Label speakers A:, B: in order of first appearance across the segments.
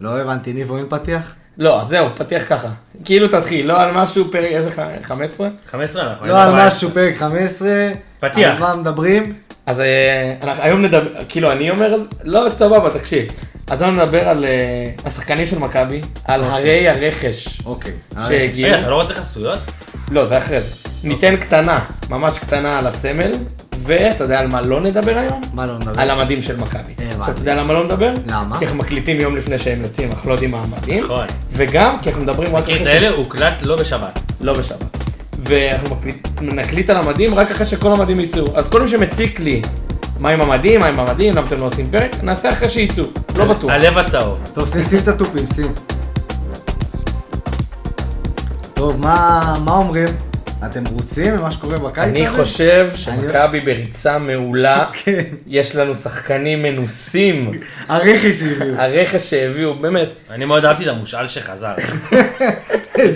A: לא הבנתי, ניבו אין פתיח?
B: לא, אז זהו, פתיח ככה. כאילו תתחיל, לא על משהו פרק איזה ח- 15?
C: 15 אנחנו.
A: לא על משהו, פרק 15.
C: פתיח.
A: על מה מדברים?
B: אז אה, אנחנו היום נדבר, כאילו אני אומר, אז- לא, סבבה, תקשיב. אז היום נדבר על אה, השחקנים של מכבי, על הרי הרכש.
A: אוקיי.
B: שהגיע.
C: רגע, אתה לא רוצה חסויות?
B: לא, זה אחרי זה. ניתן קטנה, ממש קטנה על הסמל, ואתה יודע על מה לא נדבר היום?
A: מה לא נדבר?
B: על המדים של מכבי.
A: הבנתי.
B: עכשיו, אתה יודע למה לא נדבר?
A: למה?
B: כי אנחנו מקליטים יום לפני שהם יוצאים, אנחנו לא יודעים מה המדים.
C: נכון.
B: וגם כי אנחנו מדברים רק
C: הקטע
B: אחרי
C: האלה הוקלט לא בשבת.
B: לא בשבת. ואנחנו מקליט, נקליט על המדים רק אחרי שכל המדים יצאו. אז כל מי שמציק לי, מה עם המדים, מה עם המדים, למה אתם לא עושים פרק, נעשה אחרי שיצאו. לא בטוח.
C: הלב הצהוב.
A: טוב, שים, שים את התופים, שים. טוב, מה, מה אומרים? אתם רוצים ממה שקורה בקיץ הזה?
B: אני חושב
A: אני-
B: שמכבי בריצה מעולה,
A: כן.
B: יש לנו שחקנים מנוסים.
A: הרכש שהביאו.
B: אה, הרכש שהביאו, באמת,
C: אני מאוד אהבתי את המושאל שחזר.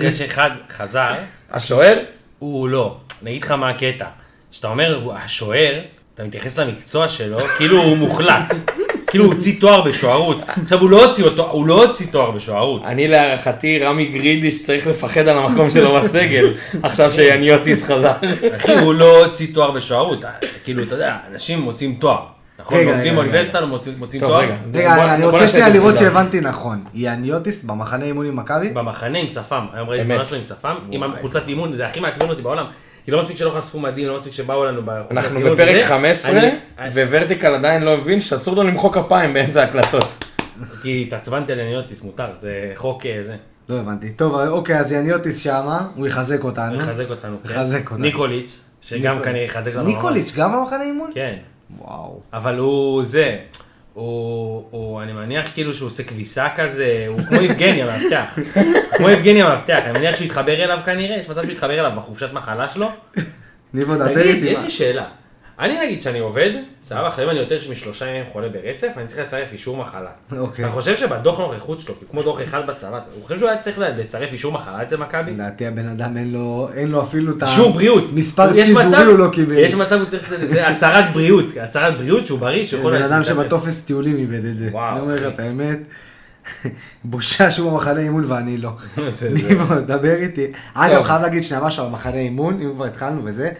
C: זה שאחד חזר,
B: השוער,
C: הוא לא. אני אגיד לך מה הקטע. כשאתה אומר, הוא- השוער, אתה מתייחס למקצוע שלו, כאילו הוא מוחלט. כאילו הוא הוציא תואר בשוערות. עכשיו, הוא לא הוציא אותו- הוא לא הוציא תואר בשוערות.
B: אני להערכתי רמי גרידיש צריך לפחד על המקום שלו בסגל, עכשיו שיאניוטיס חזר.
C: אחי, הוא לא הוציא תואר בשוערות. כאילו, אתה יודע, אנשים מוצאים תואר. נכון?
A: רגע,
C: לומדים
A: רגע,
C: באוניברסיטה, מוצאים מוצאים
B: טוב,
C: תואר.
B: רגע.
A: רגע,
B: בוא-
A: אני
B: בוא
A: רוצה
B: נעשה את
A: שנייה
B: זה
A: לראות
B: מסודר.
A: שהבנתי נכון. יאניוטיס במחנה אימון עם מכבי?
C: במחנה עם שפם, היום ראיתי
B: אמת.
C: תמונה שלו עם שפם, עם חולצת אימון, זה הכי מעצבן אותי בעולם. כי לא מספיק שלא חשפו מדים, לא מספיק שבאו לנו בחולצת אימון.
B: אנחנו בפרק
C: וזה,
B: 15,
C: אני-
B: וורטיקל עדיין לא הבין שאסור לו למחוא כפיים באמצע ההקלטות.
C: כי התעצבנתי על עניינוטיס, מותר, זה חוק אה, זה.
A: לא הבנתי. טוב, אוקיי, אז יאניוטיס שמה, הוא יחזק אותנו.
C: יחזק אותנו. כן?
A: יחזק אה? אותנו.
C: ניקוליץ', שגם כנראה יחזק אותנו. ממש.
A: ניקוליץ' גם במחנה אימון?
C: כן.
A: וואו.
C: אבל הוא זה, הוא, הוא, אני מניח כאילו שהוא עושה כביסה כזה, הוא כמו יבגני המאבטח, כמו יבגני המאבטח, אני מניח שהוא יתחבר אליו כנראה, יש מצב שהוא יתחבר אליו בחופשת מחלה שלו.
A: ניבו, דבר
C: תגיד,
A: איתי.
C: יש
A: מה-
C: לי שאלה, אני נגיד שאני עובד, סבבה, עכשיו אם אני יותר משלושה ימים חולה ברצף, אני צריך לצרף אישור מחלה.
A: אוקיי.
C: אתה חושב שבדוח נוכחות שלו, כמו דוח אחד בצבא, הוא חושב שהוא היה צריך לצרף אישור מחלה אצל מכבי?
A: לדעתי הבן אדם אין לו, אין לו אפילו את ה...
C: אישור בריאות.
A: מספר
C: יש
A: סידורי
C: מצב-
A: הוא לא קיבל.
C: יש מצב, הוא צריך לצאת- זה הצהרת בריאות, הצהרת בריאות שהוא בריא, שהוא יכול...
A: בן אדם
C: להתאמן.
A: שבטופס טיולים איבד את זה.
C: וואו,
A: אני אומר לך
C: אחי.
A: את האמת. בושה שהוא במחנה אימון ואני לא.
C: זה- זה-
A: ניבו, דבר איתי. אגב,
B: טוב.
A: חייב להגיד שנייה משהו על מחנה אימון, אם כבר התחלנו וזה.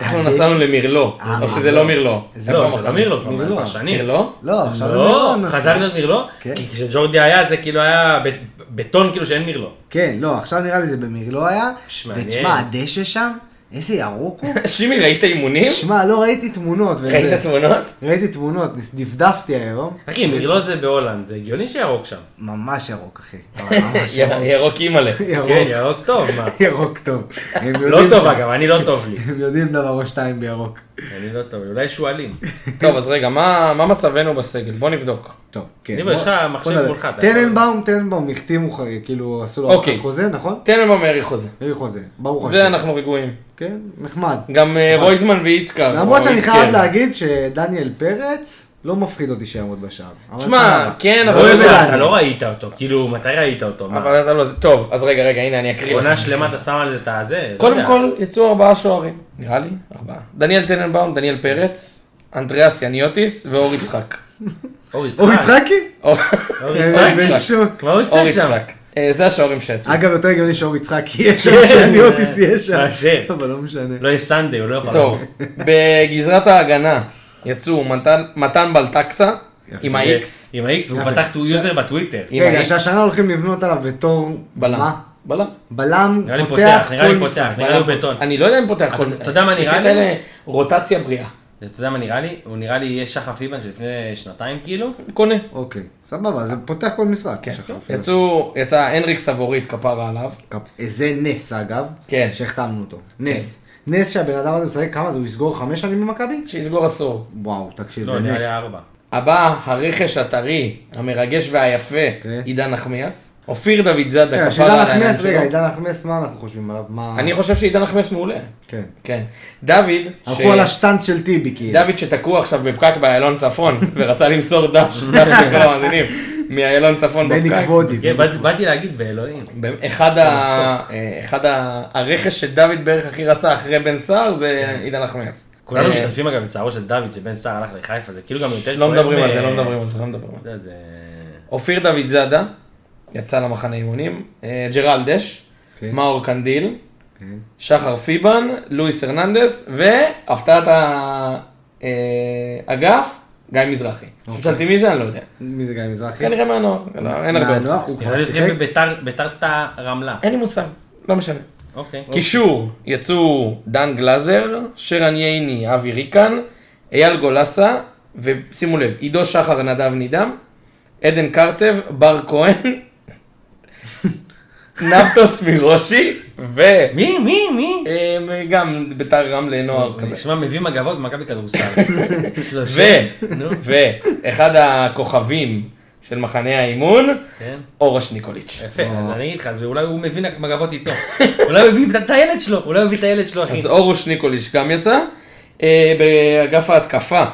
B: אנחנו
A: הדשא-
B: נסענו למרלו,
A: אה,
B: או שזה
A: מרלו.
B: לא מרלו.
A: זה
B: איפה
C: לא,
B: המחנה?
C: זה תמיר לו כבר,
A: מרלו.
C: כבר שנים.
B: מרלו?
A: לא, עכשיו זה
C: לא,
A: מרלו,
C: חזר
A: נסע.
C: להיות מרלו?
A: כן.
C: כי כשג'ורדי היה זה כאילו היה ב- בטון כאילו שאין מרלו.
A: כן, לא, עכשיו נראה לי זה במרלו היה.
C: ש- מעניין.
A: ותשמע, הדשא שם, איזה ירוק הוא.
B: שימי, ראית אימונים?
A: שמע, לא ראיתי תמונות. וזה-
B: ראית תמונות?
A: ראיתי תמונות, דפדפתי היום.
C: אחי, מרלו זה בהולנד, זה הגיוני שירוק שם.
A: ממש ירוק, אחי. ממש
B: י-
A: ירוק.
B: ירוק אימא'לה.
C: כן,
A: ירוק.
C: ירוק טוב, מה.
A: ירוק טוב. הם
C: לא
A: יודעים
C: טוב
A: שם.
C: אגב, אני לא טוב לי.
A: הם יודעים דבר או שתיים בירוק.
C: אני לא טוב, לי, אולי שועלים.
B: טוב, אז רגע, מה מה מצבנו בסגל? בוא נבדוק.
A: טוב, כן.
C: ניבו, יש לך
A: בוא-
C: מחשב
A: בוא נדבר.
C: מולך, אתה
A: טננבאום, טננבאום, החתימו, ח- כאילו, עשו לו
B: אוקיי.
A: הארכת חוזה, נכון?
B: תן לנו מארי חוזה.
A: אין חוזה, ברוך השם.
B: זה אנחנו רגועים.
A: כן, נחמד.
B: גם אה,
C: נכון.
B: רויזמן כן. ואיצקר.
A: למרות שאני
B: איצקר.
A: חייב להגיד שדניאל פרץ לא מפחיד אותי שיעמוד בשער. אבל
B: תשמע,
A: סבבה.
B: כן,
C: לא
B: אבל-
A: אוהב את
C: יודע, אתה
A: דניאל.
C: לא ראית אותו, כאילו, מתי ראית אותו? מה?
B: אבל אתה לא... טוב, אז רגע, רגע, הנה, אני אקריא
C: עונה
B: לך.
C: שלמה אתה שם על זה את הזה? לא
B: קודם
C: יודע.
B: כל, יצאו ארבעה שוערים, נראה לי, ארבעה. דניאל טננבאום, דניאל פרץ, אנדריאס יניוטיס ואור יצחק.
C: אור
A: אור
C: יצחק.
A: יצחקי?
B: אור
C: אוקיי. אור
A: הם
C: יצחק.
A: בשוק.
C: מה הוא עושה
B: אור
C: שם?
B: אה, יצחק. אה, זה השוערים שיצאו.
A: אגב, יותר הגיוני שאור יצחקי יהיה שם,
C: כן,
A: שאני
C: אה,
A: אוטיס יהיה שם.
C: מאשר.
A: אבל לא משנה.
C: לא יש סנדיי, הוא לא יכול.
B: טוב, בגזרת ההגנה יצאו מתן- מתן בלטקסה עם ה-X.
C: עם ה-X, והוא
A: יפה.
C: פתח טו
A: ש-
C: יוזר בטוויטר.
B: עם
A: רגע,
B: ה-X.
A: שהשנה הולכים לבנות עליו בתור...
B: בלם.
A: מה?
B: בלם.
A: בלם,
C: נראה לי
A: פותח
C: פותח, נראה
A: כל
C: לי
A: משחק.
C: פותח, נראה לי הוא
B: בלם.
C: בטון.
B: אני לא יודע אם פותח
C: אתה-
B: כל...
C: אתה יודע מה נראה לי?
B: אלה רוטציה בריאה.
C: אתה יודע מה נראה לי? הוא נראה לי יהיה שחף איבן שלפני שנתיים כאילו.
B: קונה.
A: אוקיי, סבבה, זה פותח כל משחק.
B: אה. כן.
A: שכחתי.
B: יצאו, יצא הנריק סבורית כפרה עליו.
A: כפ- זה נס אגב,
B: כן.
A: שהחתמנו אותו. נס. נס שהבן אדם הזה משחק כמה זה, הוא יסגור חמש שנים במכבי?
B: שיסגור עשור.
A: וואו, תקשיב,
C: לא,
A: זה
C: נראה
A: נס.
C: לי ארבע.
B: הבא, הרכש הטרי, המרגש והיפה,
A: כן.
B: עידן נחמיאס. אופיר דוד זאדה,
A: רגע,
B: כפרה על
A: אה, שעידן
B: העניין
A: נחמיאס, רגע,
B: שלו.
A: עידן נחמיאס, מה אנחנו חושבים עליו? מה...
B: לא, אני חושב שעידן נחמיאס מעולה.
A: כן.
B: כן. דוד,
A: הלכו על השטנץ של טיבי, כאילו.
B: דוד שתקוע עכשיו בפקק באיילון צפון, ורצה למסור דש, דש לכל המאזינים, מאיילון צפון
A: בני
B: בפקק.
A: כבודי.
C: כן, באת- באתי להגיד באלוהים.
B: באמת, אחד ה... אה, אחד ה... הרכש שדוד בערך הכי רצה אחרי בן סער
A: כן.
B: זה עידן נחמיאס.
C: כולנו
B: אה,
C: משתתפים אגב בצערו של דוד, שבן סער הלך לחיפה, זה כאילו גם יותר...
B: לא
C: כואב
A: אה,
B: מדברים על זה,
C: מ-
B: לא מדברים על זה, לא מדברים על
C: אתה
B: זה.
C: יודע, זה...
B: אופיר דוד זאדה, יצא למחנה אימונים, אה, ג'רלדש,
A: כן.
B: מאור קנדיל,
A: כן.
B: שחר פיבן, לואיס הרננדס, והפתעת האגף, גיא מזרחי.
A: אוקיי.
B: שאלתי מי זה, אני לא יודע.
A: מי זה גיא מזרחי?
B: כנראה מהנוער, לא, אין הרבה
A: מהנוער?
B: אופציות.
A: הוא כבר
C: ירד
A: שיחק?
C: לשחק בביתר ביתר תא רמלה.
B: אין לי מושג, לא משנה.
C: אוקיי.
B: קישור, יצאו דן גלאזר, שרן ייני, אבי ריקן, אייל גולסה, ושימו לב, עידו שחר, נדב נידם, עדן קרצב, בר כהן, נפטוס מירושי, ו...
C: מי? מי? מי?
B: אמ, גם ביתר רמלה נוער
C: זה
B: אה, כזה.
C: נשמע מביא מגבות במכבי כדורסל.
B: ו...
C: נו,
B: ואחד הכוכבים של מחנה האימון,
C: כן.
B: אורש ניקוליץ'.
C: יפה, אז אני אגיד לך, אז אולי הוא מבין מגבות איתו. אולי הוא הביא את הילד שלו, אולי הוא הביא את הילד שלו, אחי.
B: אז אורוש ניקוליץ' גם יצא. אה, באגף ההתקפה,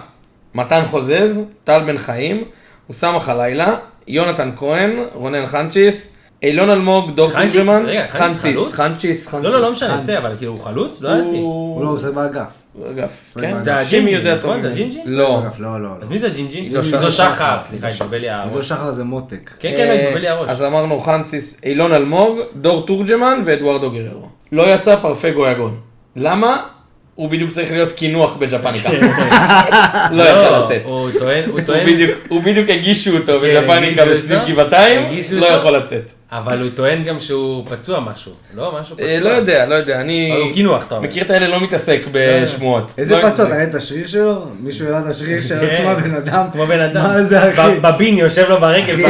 B: מתן חוזז, טל בן חיים, אוסאמה חלילה, יונתן כהן, רונן חנצ'יס, אילון אלמוג, דוב
C: חנצ'יס?
B: תורג'מן,
C: רגע, חנצ'יס חלוץ?
B: חנצ'יס, חנצ'יס.
C: לא, לא, לא משנה,
A: חנצ'ס.
C: בסדר, אבל כאילו הוא חלוץ? לא ידעתי.
B: אוקיי. הוא
A: הוא לא, הוא משחק באגף.
B: הוא אגף,
A: הוא
B: כן?
A: באגף. זה
B: שימי
C: הג'ינג'י,
B: יודע
C: נכון?
B: טוב.
C: זה
B: ממני.
C: הג'ינג'י?
B: לא.
A: באגף, לא, לא, לא.
C: אז מי זה הג'ינג'י?
B: עידו שחר.
C: עידו שחר, סליחה,
B: עידו שחר.
C: התבלבל לי
A: עידו
C: הראש.
A: שחר זה מותק.
C: כן, כן,
B: אה,
C: התבלבל לי הראש.
B: אז אמרנו חנציס, אילון אלמוג, דור תורג'מן ואדוארדו גררו. לא יצא פרפגו יגון. למה? הוא בדיוק צריך להיות קינוח בג'פניקה. לא יכול לצאת.
C: הוא טוען, הוא
B: הוא
C: טוען,
B: בדיוק- הוא בדיוק הגישו אותו בג'פניקה
C: הגישו
B: בסניף
C: אותו,
B: גבעתיים,
C: הגישו
B: לא
C: אותו.
B: יכול לצאת.
C: אבל הוא טוען גם שהוא פצוע משהו. לא, משהו פצוע.
B: אה, לא יודע, לא יודע, אני
C: אבל הוא קינוח, אתה אומר.
B: מכיר את האלה, לא מתעסק בשמועות.
A: איזה
B: לא-
A: פצות, היה את השריר שלו? מישהו העלה את השריר של
C: כן.
A: עצמו הבן לא אדם?
C: כמו בן אדם.
A: מה זה אחי?
C: ב- בבין יושב לו ברגל.
A: אחי,
C: ב-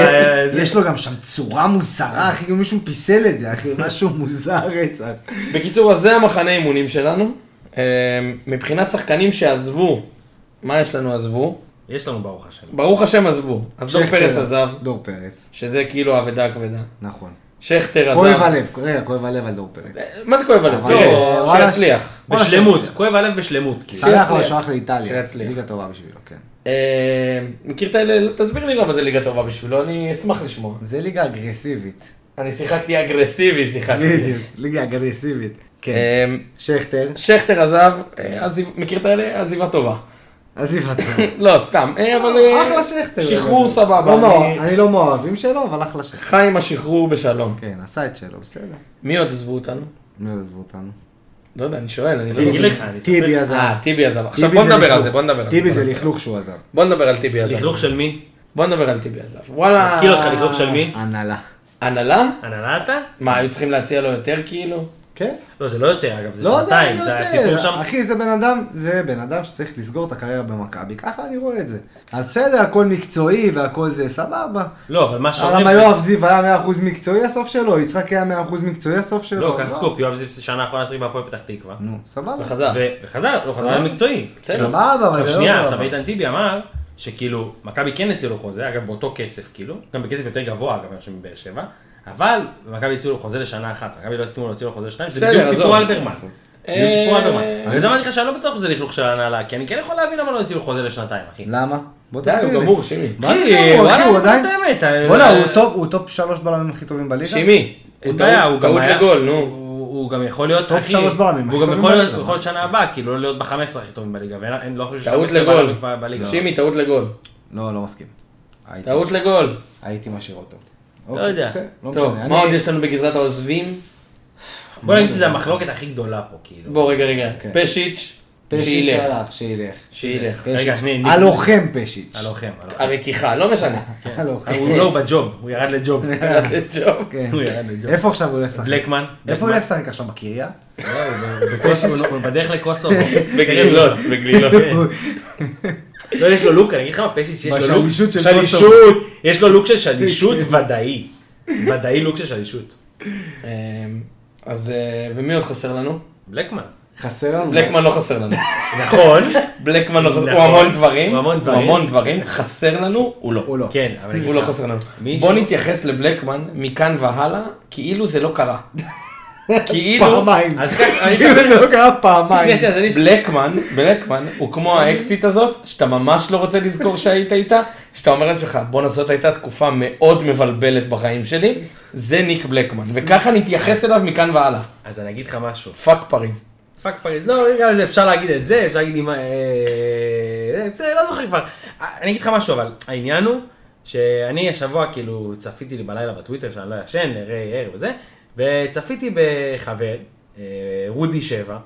C: זה-
A: יש לו גם שם צורה מוזרה, אחי, כאילו מישהו פיסל את זה, אחי, משהו מוזר רצח.
B: בקיצור, אז זה המחנה אימונים שלנו. אה, מבחינת שחקנים שעזבו, מה יש לנו עזבו?
C: יש לנו ברוך השם.
B: ברוך השם עזבו. אז דור
A: שכטר,
B: פרץ עזב.
A: דור פרץ,
B: שזה כאילו האבדה הכבדה.
A: נכון.
B: שכטר עזב.
A: כואב הלב, רגע, כואב הלב על דור פרץ.
B: מה זה כואב הלב?
A: אבל,
B: תראה,
A: אה, וואלה,
B: שיצליח.
A: וואלה,
C: בשלמות,
A: שיצליח.
C: כואב הלב בשלמות. כאילו.
A: סלח אבל
B: שיצליח.
A: שולח לאיטליה,
B: שיצליח.
A: ליגה טובה בשבילו, כן.
B: אה, מכיר את האלה? תסביר לי למה זה ליגה טובה בשבילו, אני אשמח לשמוע.
A: זה ליגה אגרסיבית.
B: אני שיחקתי אגרסיבי, שיחקתי.
A: בדיוק, ליגה אגרסיבית. כן.
B: אה,
A: שכטר,
B: שכטר עזב, אה, עזיב- מכיר את האלה? עזיבה טובה.
A: עזיב עטר.
B: לא, סתם, אה, אבל... אה,
A: אחלה שכטר.
B: שחרור
A: באמת.
B: סבבה.
A: לא
B: אני-
A: מאוהב- אני לא מאוהבים שלו, אבל אחלה שכטר.
B: חי עם השחרור בשלום.
A: כן, עשה את שלו, בסדר.
B: מי עוד עזבו אותנו?
A: לא יעזבו אותנו.
B: לא יודע, אני שואל, אני לא...
C: אני אגיד
B: יודע.
C: לך, אני אספר
A: טיבי
C: לך.
A: עזב.
B: אה, טיבי עזב. עכשיו
A: טיבי
B: בוא
A: זה
B: נדבר על
A: לכלוך.
B: זה, בוא נדבר על זה.
A: טיבי זה לכלוך שהוא עזב.
B: בוא נדבר על טיבי עזב.
C: לכלוך של מי?
B: בוא נדבר על טיבי עזב. וואלה.
C: מכיר אותך לכלוך של מי?
A: הנהלה.
B: הנהלה?
C: הנהלה אתה?
B: מה, היו צריכים להציע לו יותר כאילו?
A: כן?
C: לא, זה לא יותר, אגב, זה
A: לא יודע, אני
C: שנתיים,
A: לא
C: זה הסיפור
A: יודע.
C: שם.
A: אחי, זה בן אדם, זה בן אדם שצריך לסגור את הקריירה במכבי, ככה אני רואה את זה. אז בסדר, הכל מקצועי והכל זה סבבה.
C: לא, אבל מה שאומרים...
A: למה
C: זה-
A: יואב זיו היה 100% מקצועי הסוף שלו? יצחק היה 100% מקצועי הסוף שלו?
C: לא, קח סקופ, יואב זיו שנה אחרונה שיחק בהפועל פתח תקווה.
A: נו, סבבה.
B: וחזר.
C: ו- וחזר, לא, חזר
A: סבבה.
C: מקצועי.
B: בסדר.
A: סבבה, אבל
C: עכשיו
A: זה לא...
C: שנייה,
A: סבבה.
C: אתה ואיתן טיבי אמר שכאילו, מכבי כן הציעו לו חוזה, אגב באותו כסף כאילו, גם בכסף יותר גבוה אגב, אני חושב מבאר שבע, אבל מכבי הציעו לו חוזה לשנה אחת, מכבי לא הסכימו להוציא לו חוזה שניים, שזה
B: בסדר,
C: בדיוק סיפור
B: עזוב.
C: אלברמן.
B: אה,
C: בדיוק סיפור אלברמן.
B: אה,
C: בגלל זה אמרתי לך שאני לא בטוח שזה לכלוך של ההנהלה, כי אני כן יכול להבין למה לא הציעו לו חוזה לשנתיים, אחי.
B: לא.
A: למה? בוא
B: די,
A: תסביר
B: הוא
A: לי.
B: גמור, שימי.
A: מה זה
C: כי,
A: גמור, אחי,
C: כאילו, וואלה,
A: הוא
C: אני אומר
A: עדיין...
C: את האמת, אה, אני-
A: בואנה, הוא טופ- הוא טופ שלוש בלמים הכי טובים בליגה?
B: שימי. הוא
C: אין בעיה,
B: טעות-
C: הוא גם
B: טעות
C: היה-
B: לגול, נו.
C: הוא- הוא גם יכול להיות,
A: טופ
C: אחי,
A: שלוש בלמים,
C: והוא
A: הכי
C: גם
A: טובים
C: יכול להיות
A: בליגה.
C: יכול להיות שנה הבאה, כאילו לא להיות ב-15 הכי טובים בליגה, ואין אין- לא חושב
B: טעות
C: ש-15
B: לגול.
C: בלמים בליגה.
B: שימי, טעות לגול.
A: לא, לא מסכים. הייתי-
B: טעות לגול.
A: הייתי משאיר אותו.
C: לא יודע.
A: לא
B: טוב,
A: משנה.
B: מה עוד
A: אני-
B: יש לנו בגזרת העוזבים?
C: בוא נגיד שזו המחלוקת הכי גדולה פה, כאילו.
B: בוא, רגע, רגע.
A: אוקיי.
B: פשיץ',
A: פשיץ' כן.
B: שילך.
A: שהלך, שילך.
B: שילך.
C: רגע,
A: פשיץ'.
C: שנייה,
A: הלוחם פשיץ'.
C: הלוחם, הלוחם.
B: הרכיחה, לא משנה.
A: הלוחם.
C: הוא לא בג'וב, הוא ירד לג'וב. לא,
B: לתת ג'וב.
A: כן.
C: הוא ירד לג'וב.
A: איפה עכשיו הוא הולך לשחק?
C: בלקמן.
A: איפה הוא הולך לשחק עכשיו? בקריה?
C: לא, הוא בקוסובו, הוא בדרך לקוסובו.
B: בגלילות, בגלילות.
C: כן. לא, יש לו לוק, אני אגיד לך מה פשיץ', יש לו לוק.
A: בשלישות של
C: שלישות. יש לו לוק של שלישות ודאי. ודאי לוק של שלישות.
B: אמ, אז, אה, ומי עוד חסר לנו?
C: בלקמן.
A: חסר לנו.
B: בלקמן לא חסר לנו.
C: נכון.
B: בלקמן לא חסר,
C: נכון.
B: הוא המון דברים.
C: הוא המון דברים.
B: הוא המון דברים. חסר לנו, הוא לא.
A: הוא לא.
C: כן, אבל אני
B: הוא
C: אגיד
B: לא
C: לך.
B: חסר לנו.
C: מישהו-
B: בוא נתייחס לבלקמן מכאן והלאה, כאילו זה לא קרה. כאילו...
A: פעמיים.
C: אז ככה, אני
A: כאילו זה לא קרה פעמיים.
C: שנייה, שנייה, כן, אז אני...
B: בלקמן, בלקמן, הוא כמו האקסיט הזאת, שאתה ממש לא רוצה לזכור שהיית איתה, שאתה אומר לעצמך, בואנה זאת הייתה תקופה מאוד מבלבלת בחיים שלי, זה ניק בלקמן, וככה נתייחס אליו מכאן והלאה,
C: אז אני אגיד לך משהו.
B: פאק פריז.
C: פאק פריז, לא, רגע, זה אפשר להגיד את זה, אפשר אה, להגיד עם... ה- אה, זה, בסדר, לא זוכר כבר. אה, אני אגיד לך משהו, אבל העניין הוא שאני השבוע כאילו צפיתי לי בלילה בטוויטר שאני לא ישן, הרי ער וזה, וצפיתי בחבר, אה, רודי שבע,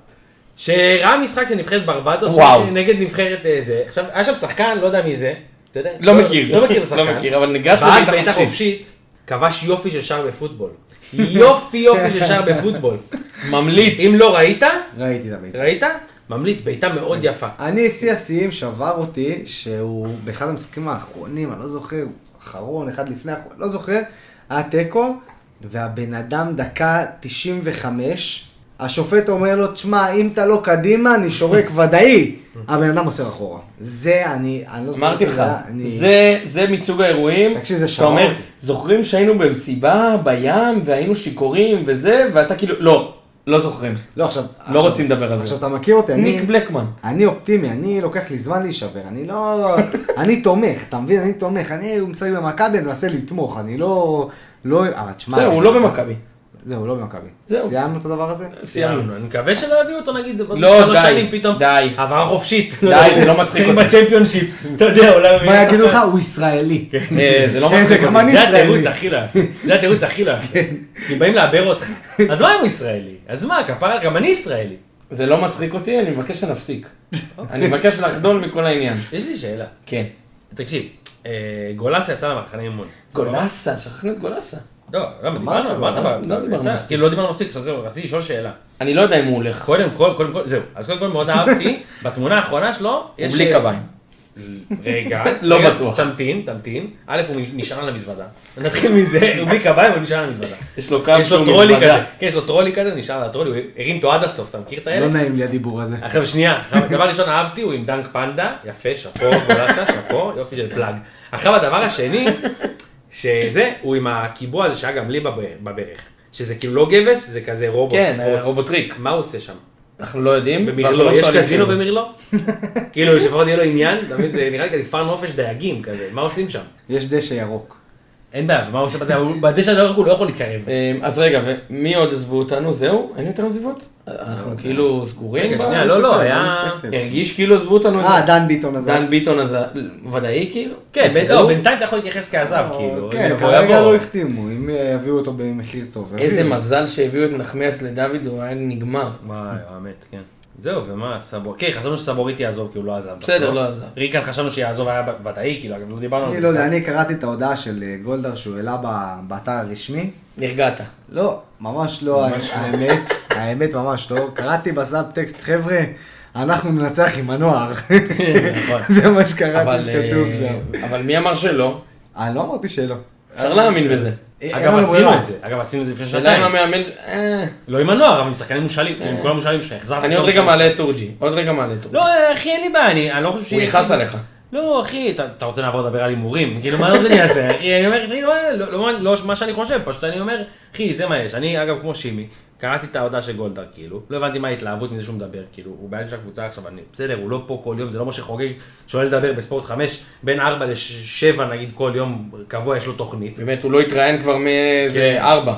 C: שראה משחק של נבחרת ברבטוס
B: וואו.
C: נגד נבחרת אה, זה. עכשיו, היה שם שחקן, לא יודע מי זה, אתה יודע?
B: לא מכיר.
C: לא מכיר את השחקן.
B: לא מכיר, אבל ניגש
C: בעט
B: לבעיטה
C: בעיטה
B: חופשית.
C: חופשית, כבש יופי של שער בפוטבול. יופי יופי של שער בפוטבול.
B: ממליץ.
C: אם לא ראית,
A: ראיתי את הבעיטה.
C: ראית? ממליץ, בעיטה מאוד יפה.
A: אני, שיא השיאים שבר אותי, שהוא באחד המשחקים האחרונים, אני לא זוכר, אחרון, אחד לפני האחרון, לא זוכר, היה תיקו, והבן אדם דקה 95, השופט אומר לו, תשמע, אם אתה לא קדימה, אני שורק ודאי. הבן אדם מוסר אחורה. זה אני, אני לא זוכר.
B: אמרתי
A: זה
B: לך,
A: היה, אני-
B: זה- זה מסוג האירועים,
A: תקשיב, זה
B: שאתה
A: שבר
B: אומר,
A: אותי.
B: זוכרים שהיינו במסיבה, בים, והיינו שיכורים וזה, ואתה כאילו, לא, לא זוכרים.
A: לא, עכשיו...
B: לא
A: עכשיו-
B: רוצים לדבר על זה.
A: עכשיו, אתה מכיר אותי, אני...
B: ניק בלקמן.
A: אני אופטימי, אני לוקח לי זמן להישבר, אני לא... אני תומך, אתה מבין? אני תומך, אני הוא משחק במכבי, אני מנסה לתמוך, אני לא... לא... אבל תשמע...
B: זהו, הוא לא במכבי.
A: זהו, הוא לא במכבי.
B: זהו. אה,
A: סיימנו את הדבר הזה?
B: סיימנו.
C: אני מקווה שלא יביאו אותו נגיד עוד
B: לא,
C: שלוש
B: די,
C: שנים פתאום.
B: די.
C: העברה חופשית.
B: די, זה לא מצחיק
C: שיחק
B: אותי.
C: בצ'מפיונשיפ. אתה יודע, אולי... הוא
A: מה
C: יהיה
A: יגידו לך?
C: שחקן.
A: הוא ישראלי.
B: אה, זה לא מצחיק
A: גם
B: אותי.
A: אני
C: זה התירוץ
A: ישראלי.
C: הכי לא יפה. זה התירוץ הכי לא יפה.
B: כן.
C: כי באים לעבר אותך. אז מה אם הוא ישראלי? אז מה, כפרה, גם אני ישראלי.
B: זה לא מצחיק אותי, אני מבקש שנפסיק.
C: אוקיי.
B: אני מבקש לחדול מכל העניין.
C: יש לי שאלה.
B: כן.
C: תקשיב, אה, גולסה יצא למחנה אימון.
B: גולסה, שכחנו את גולסה.
C: לא, למה דיברנו?
A: אמרת,
C: אמרת,
B: אבל- לא
C: אבל-
B: דיברנו
C: יצא.
B: מספיק.
C: כאילו לא דיברנו מספיק, עכשיו זהו, רציתי לשאול שאלה.
B: אני לא יודע אם הוא הולך.
C: קודם כל, קודם כל, זהו. אז קודם כל מאוד אהבתי, בתמונה האחרונה שלו,
B: הוא
C: יש... אה,
B: בלי קביים.
C: רגע,
B: לא
C: רגע,
B: בטוח.
C: תמתין, תמתין. א', הוא נשאר על המזוודה. נתחיל מזה, הוא בלי קביים, הוא נשאר על המזוודה.
B: יש לו קו
C: יש
B: שהוא
C: לו טרולי
B: מזוודה.
C: כזה, כן, יש לו טרולי כזה, הוא נשאר על הטרולי, הוא הרים אותו עד הסוף, אתה מכיר את האלה?
A: לא נעים לי הדיבור הזה.
C: עכשיו שנייה, עכשיו, דבר ראשון אהבתי, הוא עם דנק פנדה, יפה, שאפו, גולסה, שאפו, יופי של פלאג. עכשיו הדבר השני, שזה, הוא עם הקיבוע הזה שהיה גם לי בב- בברך, שזה כאילו לא גבס, זה כזה רובוט.
B: כן, אה, רובוטריק.
C: מה הוא עושה שם?
B: אנחנו לא יודעים. ואנחנו
C: במרלו,
B: לא
C: יש
B: שואלים
C: קזינו
B: שאלות.
C: במרלו? כאילו, שלפחות יהיה לו עניין, אתה מבין, זה נראה לי כזה כפר נופש דייגים כזה, מה עושים שם?
A: יש דשא ירוק.
C: אין בעיה, ומה הוא עושה בדשא? הוא- בדשא הדרוק הוא לא יכול להתקרב.
B: אמ, אז רגע, ומי עוד עזבו אותנו? זהו? אין יותר עזיבות? אנחנו כאילו סגורים?
C: לא רגע,
B: ב-
C: שנייה, לא, לא,
A: בסדר,
C: היה...
A: לא מסתכל.
B: הרגיש כאילו עזבו אותנו?
A: אה,
B: איזה-
A: דן ביטון הזה.
B: דן ביטון הזה, ודאי כאילו?
C: כן, בין-
B: זהו?
C: לא, בינתיים אתה יכול להתייחס כעזב,
A: אה,
C: כאילו.
A: כן,
C: יבוא,
A: כרגע
C: יבוא.
A: לא החתימו, אם אה, יביאו אותו במחיר טוב. אה,
B: איזה
A: יביאו.
B: מזל שהביאו את נחמיאס לדוד, הוא היה נגמר.
C: וואי, האמת, כן. זהו, ומה, סבור... כן, חשבנו שסבורית יעזוב, כי הוא לא עזב.
B: בסדר,
C: בסוף.
B: לא עזב.
C: ריקן חשבנו שיעזוב, היה ב- ודאי, כאילו, אגב, לא דיברנו על זה.
A: אני לא יודע, אני קראתי את ההודעה של אה, גולדהר שהוא העלה ב- באתר הרשמי.
B: נרגעת.
A: לא, ממש לא, האמת, האמת ממש לא. קראתי בסאבטקסט, חבר'ה, אנחנו ננצח עם הנוער.
C: נכון.
A: זה מה שקראתי
B: אבל,
A: שכתוב
B: אה,
A: שם.
B: אבל מי אמר שלא?
A: אני לא אמרתי שלא. אה,
B: אפשר להאמין בזה.
A: אין
C: אגב,
A: לנו
C: עשינו
A: ברירה.
C: את זה. אגב, עשינו את זה לפני
B: שאלה אם
C: שנתיים.
B: המאמן... אה,
C: לא עם הנוער, אבל עם שחקנים מושאלים, כאילו, עם כולם מושאלים שהחזרת.
B: אני עוד רגע מעלה את תורג'י. עוד רגע מעלה את תורג'י.
C: לא, אחי, אין לי בעיה, אני אני לא חושב
B: הוא
C: שיהיה...
B: יכעס עליך.
C: לא, אחי, אתה אתה רוצה לעבור לדבר על הימורים, כאילו, מה זה אני אעשה, אחי, אני אומר, אחי, לא- לא- לא- לא מה שאני חושב, פשוט אני אומר, אחי, זה מה יש. אני, אגב, כמו שימי, קראתי את ההודעה של גולדהר, כאילו, לא הבנתי מה ההתלהבות מזה שהוא מדבר, כאילו, הוא בעלים של הקבוצה עכשיו, אני, בסדר, הוא לא פה כל יום, זה לא משה חוגג, שואל לדבר בספורט 5, בין 4 ל-7, נגיד, כל יום, קבוע יש לו תוכנית.
B: באמת, הוא לא התראיין כבר מאיזה ארבע.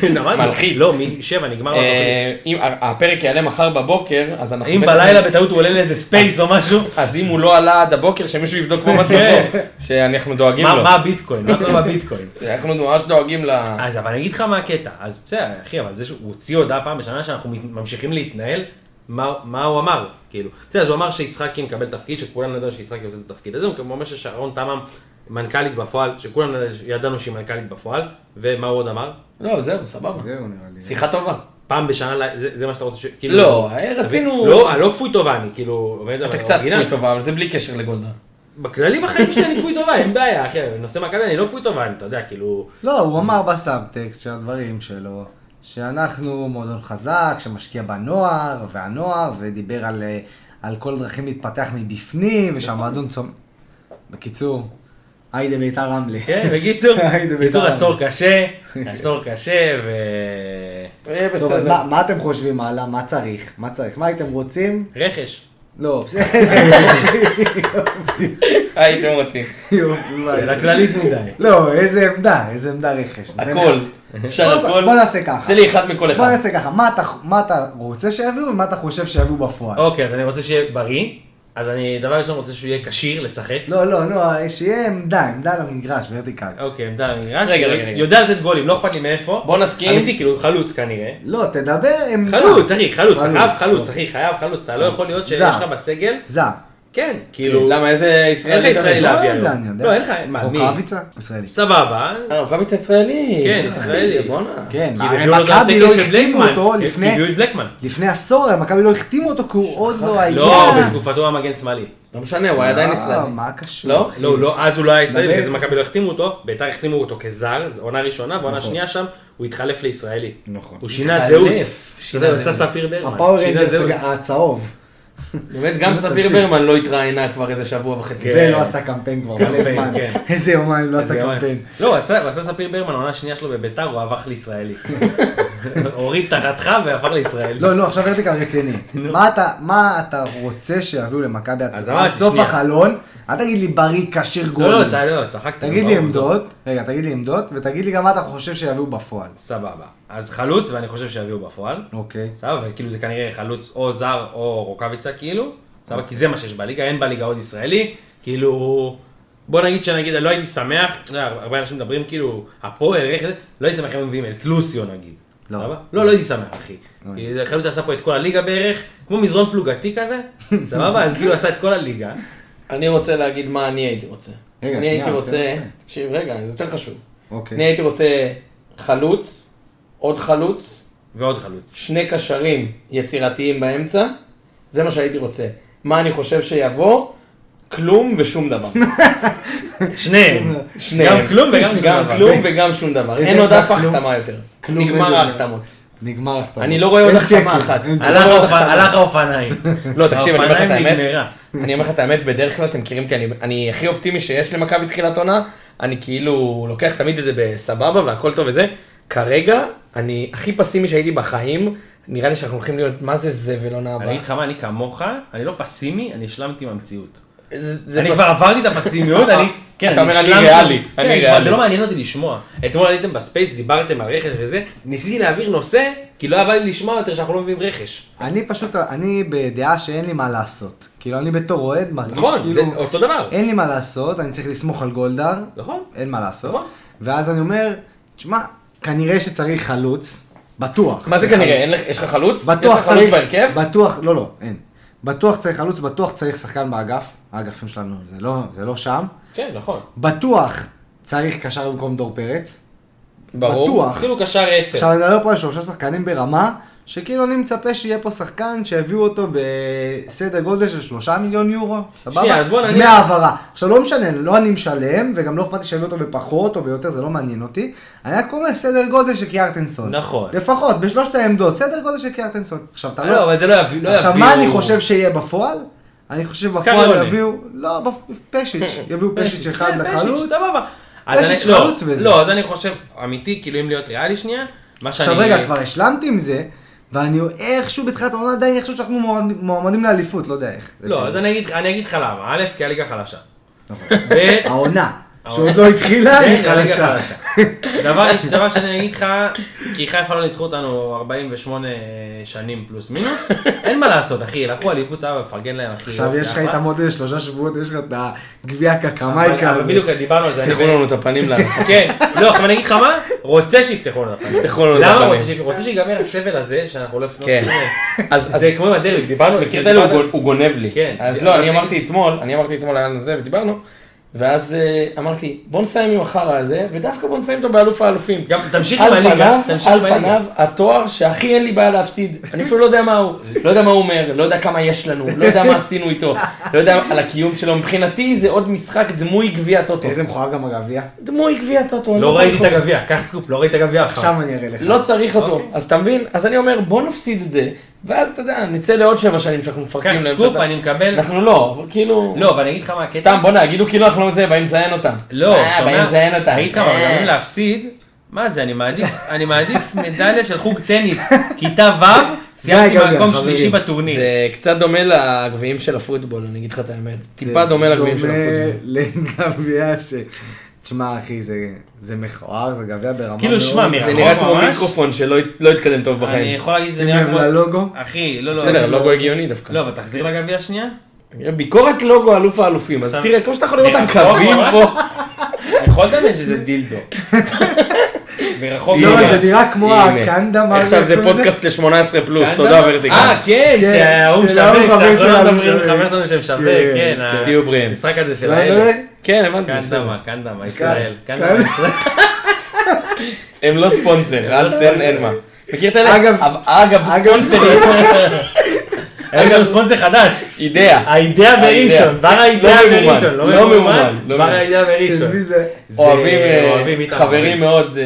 C: כן, אמרתי,
B: מלחיץ.
C: לא, מ-7 נגמר לו התוכנית.
B: אה, אם הפרק יעלה מחר בבוקר, אז אנחנו...
C: אם
B: בטח-
C: בלילה בטעות הוא עולה לאיזה ספייס או משהו,
B: אז אם הוא לא עלה עד הבוקר, שמישהו יבדוק מה מצבו, שאנחנו דואגים
C: כן. מה
B: לו.
C: מה הביטקוין, מה קורה בביטקוין?
B: אנחנו ממש דואגים ל...
C: אז אבל אני אגיד לך מה הקטע, אז בסדר אחי, אבל זה שהוא הוציא הודעה פעם בשנה שאנחנו מת- ממשיכים להתנהל, מה, מה הוא אמר, כאילו, בסדר, אז הוא אמר שיצחקי מקבל תפקיד, שכולנו ידענו שיצחקי עושה את התפקיד הזה, הוא גם אומר ששרון תמם מנכ"לית בפועל, שכולנו ידענו שהיא מנכ"לית בפועל, ומה הוא עוד אמר?
B: לא, זהו, סבבה.
A: זהו נראה לי.
B: שיחה טובה.
C: פעם בשנה, זה, זה מה שאתה רוצה ש... כאילו,
B: לא,
C: אתה
B: רצינו...
C: מבין? לא, אני לא כפוי טובה, אני כאילו, עומד
B: אתה
C: אבל
B: קצת
C: אורגינל.
B: כפוי טובה, אבל זה בלי קשר לגולדה.
C: בכללי בחיים שלי אני כפוי טובה, אין בעיה, אחי, נושא מכבי אני לא כפוי טובה, אני, אתה יודע, כאילו,
A: לא, הוא אמר בסאבטקסט של הדברים שלו, שאנחנו מועדון חזק, שמשקיע בנוער, והנוער, ודיבר על, אה, על כל דרכים להתפתח מבפנים,
C: נכון.
A: ושהמועדון צומח. בקיצור, היידה ביתר רמלה.
C: כן, בקיצור,
A: היידה בית"ר
C: בקיצור
A: רמלה.
C: עשור קשה, עשור קשה, ו...
B: יהיה
A: טוב, אז
B: אה, בסדר.
A: מה, מה אתם חושבים הלאה? מה צריך? מה צריך? מה הייתם רוצים?
C: רכש.
A: לא, בסדר.
B: הייתם רוצים.
A: יופי, ביי.
C: שאלה כללית מדי.
A: לא, איזה עמדה, איזה עמדה רכש. נותן לך-
B: הכל. אפשר
A: בוא-
B: הכל.
A: בוא נעשה ככה.
B: עשה לי אחד מכל
A: אה, בוא
B: אחד.
A: נעשה ככה, מה אתה- מה אתה רוצה שיביאו ומה אתה חושב שיביאו בפועל?
C: אוקיי, אז אני רוצה שיהיה בריא, אז אני, דבר ראשון רוצה שהוא יהיה כשיר לשחק.
A: לא, לא, לא, שיהיה עמדה, עמדה למגרש, ורטיקל.
C: אוקיי, עמדה במגרש.
B: רגע, רגע, רגע.
C: יודע לתת גולים, לא אכפת לי מאיפה.
B: בוא נסכים.
C: אמיתי, כאילו, חלוץ כנראה.
A: לא, תדבר עמדה.
C: חלוץ, אחי, חלוץ, אתה חייב
A: לא.
C: חלוץ, אחי, חייב חלוץ, אתה לא יכול להיות שיש
A: כן. זר.
C: לך בסגל,
A: זר.
C: כן, כאילו,
B: למה איזה
C: אין לך
B: ישראלי?
C: ישראלי
A: לא,
C: להביא
A: יודע, אני
C: היום,
A: יודע.
C: לא, אין לך, מה, מי,
A: רוקאביצה? ישראלי.
C: סבבה,
B: אה, רוקאביץ' ישראלי.
C: כן,
B: שכחתי את
C: ישראלי.
B: זה, בואנה.
A: כן,
C: כי
A: הרי
C: הביאו לו את
A: מכבי לא
C: התקן של
A: החתימו
C: בלקמן,
A: אותו
C: כי
A: לפני...
C: הביאו את בלקמן,
A: לפני עשור, המכבי לא החתימו אותו כי הוא עוד לא היה.
C: לא, בתקופתו הוא המגן שמאלי,
B: לא משנה, הוא היה עדיין
A: לא,
B: ישראלי.
A: מה קשור?
B: לא?
A: אחי?
C: לא, הוא לא, אז הוא לא היה ישראלי,
A: באמת?
C: בגלל זה מכבי לא החתימו אותו, ביתר החתימו אותו כזר, זו עונה ראשונה, ועונה שנייה שם, הוא התחלף לישראלי,
A: נכון.
C: הוא שינה
B: התחלף.
C: זהות,
B: שינה
C: הוא עשה
B: זהות.
C: ספיר ברמן,
A: הפאוור
C: לא שינה
A: ריינג'רס
C: זהות.
A: הצהוב.
B: באמת, גם ספיר
A: תמשיך.
B: ברמן לא התראיינה כבר איזה שבוע וחצי.
A: ולא עשה קמפיין כבר מלא
C: כן. קמפיין,
A: זמן.
C: כן.
A: איזה יומיים לא עשה
C: זה יומיים.
A: קמפיין.
C: לא, הוא עשה הוא עשה ספיר ברמן, העונה השנייה שלו בביתר, הוא הפך לישראלי, הוריד תחתך והפך לישראלי,
A: לא, נו, עכשיו ורטיקל רציני. מה אתה- מה אתה רוצה שיביאו למכבי
C: אז
A: הצהרה?
C: אמרתי,
A: עד סוף
C: שנייה. לא,
A: החלון, אל תגיד לי בריא, כשיר גול.
C: לא, צ- לא, צחקת.
A: תגיד
C: לא,
A: לי
C: לא.
A: עמדות, רגע, תגיד לי עמדות, ותגיד לי גם מה אתה חושב שיביאו בפועל.
C: סבבה. אז חלוץ, ואני חושב שיביאו בפועל.
A: אוקיי.
C: סבבה, וכאילו זה כנראה חלוץ או זר או רוקאביצה, כאילו. סבבה, כי זה מה שיש בליגה, אין בליגה עוד ישראלי. כאילו, בוא נגיד שנגיד, לא הייתי שמח, אתה יודע, הרבה אנשים מדברים כאילו, הפועל, איך זה, לא הייתי שמח אם הם מביאים את לוסיו נגיד.
A: לא.
C: סבבה? לא, לא הייתי שמח, אחי. כי זה חלוץ שעשה פה את כל הליגה בערך, כמו מזרון פלוגתי כזה, סבבה? אז כאילו עשה את כל הליגה.
B: אני רוצה להגיד מה אני הייתי רוצה.
A: רגע,
B: אני
A: שנייה,
B: הייתי רוצה,
A: תנסה.
B: תקשיב, רגע, זה יותר חשוב. אני
A: אוקיי.
B: הייתי רוצה חלוץ, עוד חלוץ,
C: ועוד חלוץ.
B: שני קשרים יצירתיים באמצע, זה מה שהייתי רוצה. מה אני חושב שיבוא? כלום ושום דבר.
C: שניהם.
B: שניהם.
C: גם כלום וגם שום
B: גם
C: דבר.
B: כלום וגם שום דבר.
A: איזה
B: אין עוד
A: עמדה
B: אף
A: כלום?
B: החתמה יותר.
A: כלום,
B: נגמר
A: איזה עמדה?
B: ההחתמות.
A: נגמר ההחתמה.
B: אני לא רואה עוד
A: אין
B: החתמה
A: צ'קים,
B: אחת.
A: אין
C: הלך האופ- הלך האופניים.
B: לא, תקשיב, אני אומר לך את
C: האופניים
B: האמת,
C: נגמרה.
B: אני אומר לך את האמת, בדרך כלל אתם מכירים אותי, אני- אני הכי אופטימי שיש למכבי תחילת עונה, אני כאילו לוקח תמיד את זה בסבבה והכל טוב וזה, כרגע אני הכי פסימי שהייתי בחיים, נראה לי שאנחנו הולכים להיות מה זה זבל עונה
C: אני
B: הבאה.
C: אגיד לך מה, אני כמוך, אני לא פסימי, אני השלמתי עם המציאות.
B: זה
C: אני
B: פס-
C: כבר עברתי את הפסימיות, אני... כן,
B: אתה אומר, אני
C: השלמתי-
B: ריאלי,
C: כן,
B: אני
C: כבר
B: ריאלי.
C: זה לא מעניין אותי לשמוע. אתמול הייתם בספייס, דיברתם על רכש וזה, ניסיתי להעביר נושא, כי לא היה בא לי לשמוע יותר שאנחנו לא מביאים רכש.
A: אני פשוט, אני בדעה שאין לי מה לעשות. כאילו, אני בתור אוהד מרגיש
C: נכון, זה
A: כאילו,
C: אותו דבר.
A: אין לי מה לעשות, אני צריך לסמוך על גולדהר,
C: נכון.
A: אין מה לעשות.
C: נכון.
A: ואז אני אומר, תשמע, כנראה שצריך חלוץ, בטוח.
B: מה זה
A: צריך
B: כנראה,
A: חלוץ.
B: אין לך- יש לך חלוץ?
A: בטוח
B: יש לך חלוץ
A: צריך,
B: בהרכב?
A: בטוח, לא, לא, אין. בטוח צריך חלוץ, בטוח צריך שחקן באגף, האגפים שלנו, זה לא, זה לא שם.
B: כן, נכון.
A: בטוח צריך קשר במקום דור פרץ.
B: ברור.
A: בטוח.
C: אפילו קשר 10.
A: עכשיו אני מדבר פה על שלושה שחקנים ברמה, שכאילו אני מצפה שיהיה פה שחקן שהביאו אותו בסדר גודל של שלושה מיליון יורו,
C: שנייה,
A: סבבה?
C: אז בוא נניח-
A: דמי העברה. עכשיו לא משנה, לא אני משלם, וגם לא אכפת לי שיביאו אותו בפחות או ביותר, זה לא מעניין אותי. אני רק אומר סדר גודל של קיארטנסון.
C: נכון.
A: לפחות, בשלושת העמדות, סדר גודל של קיארטנסון. עכשיו אתה
C: לא, אבל זה לא יביא- לא יביאו...
A: עכשיו מה אני חושב שיהיה בפועל? אני חושב
C: סקריונה.
A: בפועל יביאו, לא, בפ- פשיץ', יביאו פשיץ' אחד
C: כן,
A: לחלוץ.
C: פשיץ', סבבה. אז
A: פשיץ'
C: אני- לא,
A: חלוץ וזה.
C: לא, אז אני חושב, אמיתי, כאילו אם להיות ריאלי שנייה, מה שאני...
A: עכשיו רגע, כבר השלמתי עם זה, ואני איכשהו בתחילת העונה עדיין יחשוב שאנחנו מועמד- מועמדים לאליפות, לא יודע איך. זה
C: לא,
A: כאילו-
C: אז אני אגיד- אני אגיד לך למה. א', כי הליגה חלשה.
A: נכון.
C: ב',
A: העונה, שעוד לא התחילה, היא
C: כן, הליגה
A: חלשה.
C: חלשה. דבר דבר שאני אגיד לך, כי חיפה לא ניצחו אותנו 48 שנים פלוס מינוס, אין מה לעשות אחי, לקחו אליפות סבבה, מפרגן להם אחי.
A: עכשיו
C: יופי,
A: יש לך
C: אחלה.
A: איתם עוד איזה שלושה שבועות, יש לך את הגביע
C: אבל-
A: קקמייקה
C: אבל
A: הזה.
C: בדיוק דיברנו על זה, אני
B: תפתחו לנו את הפנים לנו.
C: כן, לא, עכשיו אני אגיד לך מה, רוצה שיפתחו לנו את הפנים.
B: יפתחו לנו את
C: למה
B: הפנים.
C: רוצה שיפתחו? רוצה שיגמר הסבל הזה שאנחנו לא...
B: כן. לא אז
C: זה כמו עם הדרבי, דיברנו,
B: מכיר את האלה, הוא
C: דיברנו-
B: גונ- הוא גונב לי.
C: כן.
B: אז
C: זה-
B: לא,
C: אבל
B: אני
C: זה-
B: אמרתי אתמול, אני אמרתי אתמול היה לנו זה ודיברנו, ואז אה, אמרתי, בוא נסיים עם החרא הזה, ודווקא בוא נסיים אותו באלוף האלופים.
C: גם תמשיך עם
B: על
C: הליגה,
B: פניו,
C: תמשיך עם
B: על
C: הליגה.
B: פניו, התואר שהכי אין לי בעיה להפסיד. אני אפילו לא יודע מה הוא, לא יודע מה הוא אומר, לא יודע כמה יש לנו, לא יודע מה עשינו איתו, לא יודע על הקיום שלו. מבחינתי זה עוד משחק דמוי גביע טוטו.
A: איזה מכוער גם הגביע.
B: דמוי גביע טוטו. אני
C: לא
B: צריך
C: ראיתי את
B: אותו.
C: הגביע, קח סקופ, לא ראיתי את הגביע אף פעם.
A: עכשיו אני אראה לך.
B: לא צריך אותו.
C: אוקיי.
B: אז אתה מבין? אז אני אומר, בוא נפסיד את זה, ואז אתה יודע, נצא לעוד שבע שנים שאנחנו מפרקים
C: קח
B: להם את
C: סקופ,
B: הת-
C: אני מקבל.
B: אנחנו לא, אבל כאילו...
C: לא, אבל אני אגיד לך מה הקטע.
B: סתם, בוא'נה, יגידו כאילו אנחנו לא מזהים, באים לזיין אותם.
C: לא,
B: אה,
C: אתה
B: באים
C: אומר,
B: לזיין אותם.
C: אני אגיד לך, אבל
B: אה.
C: גם אם להפסיד, מה זה, אני מעדיף, אני מעדיף מדליה של חוג טניס, כיתה ו', סיימתי
A: הגביע,
C: במקום
A: חברים.
C: שלישי בטורניר.
B: זה קצת דומה לגביעים של הפוטבול, אני אגיד לך את האמת. טיפה דומה לגביעים של הפוטבול.
A: דומה לגביע ש... תשמע אחי, זה- זה מכוער, זה גביע ברמה
C: כאילו, שמע,
A: מאוד-
C: מרחוק
B: זה נראה כמו
C: ממש.
B: מיקרופון שלא הת- לא התקדם טוב
C: אני
B: בחיים.
C: יכול להגיד שזה
A: שים
C: נראה
A: לב
C: כמו...
A: ללוגו.
C: אחי, לא, לא.
B: בסדר,
C: אני לא-
B: לוגו הגיוני דווקא.
C: לא, אבל תחזיר לגביע שנייה.
B: ביקורת לוגו אלוף האלופים, אז
C: שם-
B: תראה, כמו שאתה יכול לראות,
C: מרחוק,
B: הקווים
C: ממש.
B: פה.
C: יכולת להבין שזה דילדו. מרחוק
A: לא,
C: ממש.
A: זה נראה כמו
B: הנה.
A: הקנדה, מה
B: עכשיו
A: איך
B: זה
A: קוראים לזה?
B: פודקאסט ל-18 פלוס,
C: כאן
B: תודה
C: גם?
B: ורטיקל.
C: אה, כן,
A: כן,
C: שההוא
A: של ההוא
C: משווק,
A: חבר
C: שעכשיו
A: שלנו
C: מדברים,
A: משווק.
C: חבר שלנו שמשווק,
A: כן.
C: כן. ה-
B: שתהיו בריאים.
C: המשחק הזה של
A: לא,
C: האלה.
A: לא,
B: כן, הבנתי, בסדר.
C: קנדמה, קנדמה, ישראל.
A: כאן.
C: קנדמה, ישראל.
B: הם לא ספונסר, אל תן, אין מה. מכיר את אלה?
A: אגב-
B: אב- אגב,
A: אגב,
B: ספונסרים,
C: יש לנו ספונסר חדש.
B: אידאה.
C: האידאה בראשון,
B: האידאה.
C: בר האידאה
B: לא ממומן,
C: בראשון,
B: לא
C: לא ממומן,
B: ממומן, לא
C: בר
B: ממומן.
C: האידאה בראשון.
A: של מי זה?
C: זה-
B: אוהבים, אה,
C: אוהבים איתם,
B: חברים
C: אוהבים.
B: מאוד, אה,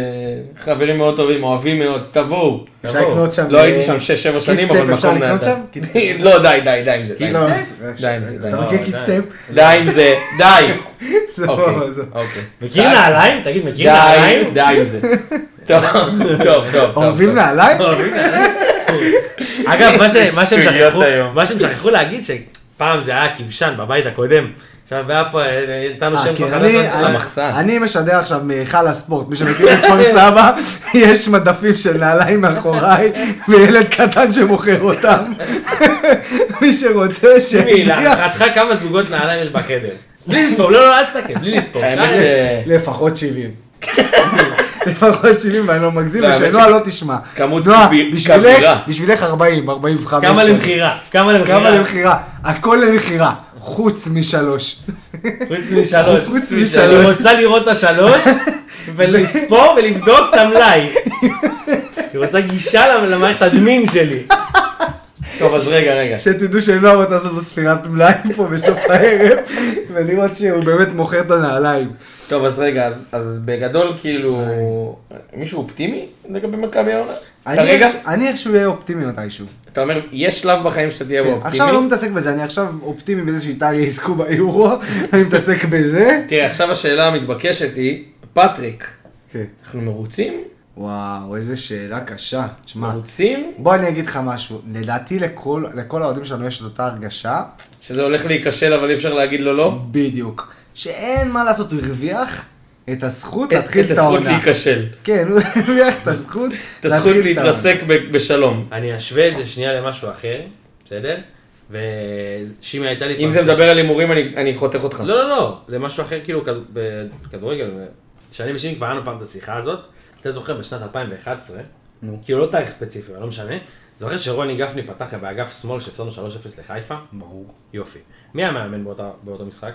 B: חברים מאוד טובים, אוהבים מאוד, תבואו.
A: אפשר
C: תבואו.
A: לקנות שם.
B: לא
A: אה,
B: הייתי שם 6-7 שנים,
A: קידסטייפ
B: אבל
A: אפשר
B: מקום
A: לקנות
B: נהדר.
A: שם? קידסטייפ?
B: לא, די, די, די עם זה, די עם
A: לא,
B: זה.
A: רק
B: די עם
A: שנייה,
B: זה, די.
A: אתה
C: לא,
A: מכיר
C: די.
A: קידסטייפ?
B: די עם זה, די.
A: זהו,
B: אוקיי,
A: זהו.
B: אוקיי.
C: מכיר נעליים? תגיד, מכיר
B: די,
C: נעליים?
B: די עם זה. טוב, טוב, טוב, טוב.
A: אוהבים
B: טוב.
A: נעליים?
C: לא, אגב, מה ש- מה שהם
B: שטויות
C: שכחו-
B: היום.
C: מה שהם שכחו להגיד, שפעם זה היה כבשן בבית הקודם. עכשיו היה פה, אה, נתנו
A: אה,
C: שם
A: כן,
C: כל
A: אני-
C: חדש.
A: אני-
B: למחסן.
A: אני משדר עכשיו מהיכל הספורט, מי שמכיר את כפר סבא, יש מדפים של נעליים מאחוריי, וילד קטן שמוכר אותם. מי שרוצה
C: תקשיבי,
A: שיגיע,
C: להערכתך כמה זוגות נעליים יש בחדר. בלי לספור, לא, לא, אל תסתכל, בלי לספור. אה,
B: האמת ש-
A: לפחות 70. לפחות 70 ואני לא מגזים,
B: לא, האמת
A: ושנועה
B: ש-
A: לא תשמע.
B: כמות
A: נועה,
B: כביר-
A: בשבילך-
B: כבירה.
A: בשבילך 40, 45.
C: כמה למכירה, כמה למכירה.
A: כמה למכירה? הכל למכירה, חוץ משלוש.
C: חוץ משלוש.
A: חוץ
C: אני
A: משלוש.
C: רוצה לראות את השלוש, ולספור ולבדוק את המלאי. היא רוצה גישה למ- למערכת הדמין שלי.
B: טוב, אז רגע, רגע.
A: שתדעו שנועה רוצה לעשות לו ספירת מלאי פה בסוף הערב, ולראות שהוא באמת מוכר את הנעליים.
B: טוב, אז רגע, אז- אז בגדול, כאילו, מישהו אופטימי לגבי מכבי העונה?
A: אני
B: כרגע,
A: איכשהו- אני איכשהו אהיה אופטימי מתישהו. כן.
B: אתה אומר, יש שלב בחיים שאתה תהיה בו
A: עכשיו אני לא
B: אופטימי.
A: מתעסק בזה, אני עכשיו אופטימי בזה שאיטליה יזכו ביורו, אני מתעסק בזה.
B: תראה, עכשיו השאלה המתבקשת היא, פטריק,
A: כן.
B: אנחנו מרוצים?
A: וואו, איזה שאלה קשה. תשמע,
B: מרוצים?
A: בוא אני אגיד לך משהו. לדעתי לכל לכל האוהדים שלנו יש את אותה הרגשה,
B: שזה הולך להיכשל, אבל אי אפשר להגיד לו לא?
A: בדיוק. שאין מה לעשות, הוא הרוויח את הזכות
B: את
A: להתחיל את
B: את הזכות
A: העונה.
B: להיכשל.
A: כן, הוא הרוויח את הזכות
B: את הזכות
A: להתחיל את העונה.
B: להתרסק ב- בשלום.
C: אני אשווה את זה שנייה למשהו אחר, בסדר? ושימי הייתה לי
B: אם זה מדבר על הימורים, אני- אני חותך אותך.
C: לא, לא, לא, למשהו אחר, כאילו, כד- בכדורגל, שאני ושימי כבר היה לנו פעם את השיחה הזאת, אתה זוכר בשנת 2011, כאילו לא תאריך ספציפי, אבל לא משנה, זוכר שרוני גפני פתח באגף שמאל שהפסדנו 3-0 לחיפה? ברור. יופי. מי היה מאמן באותה- באותו משחק?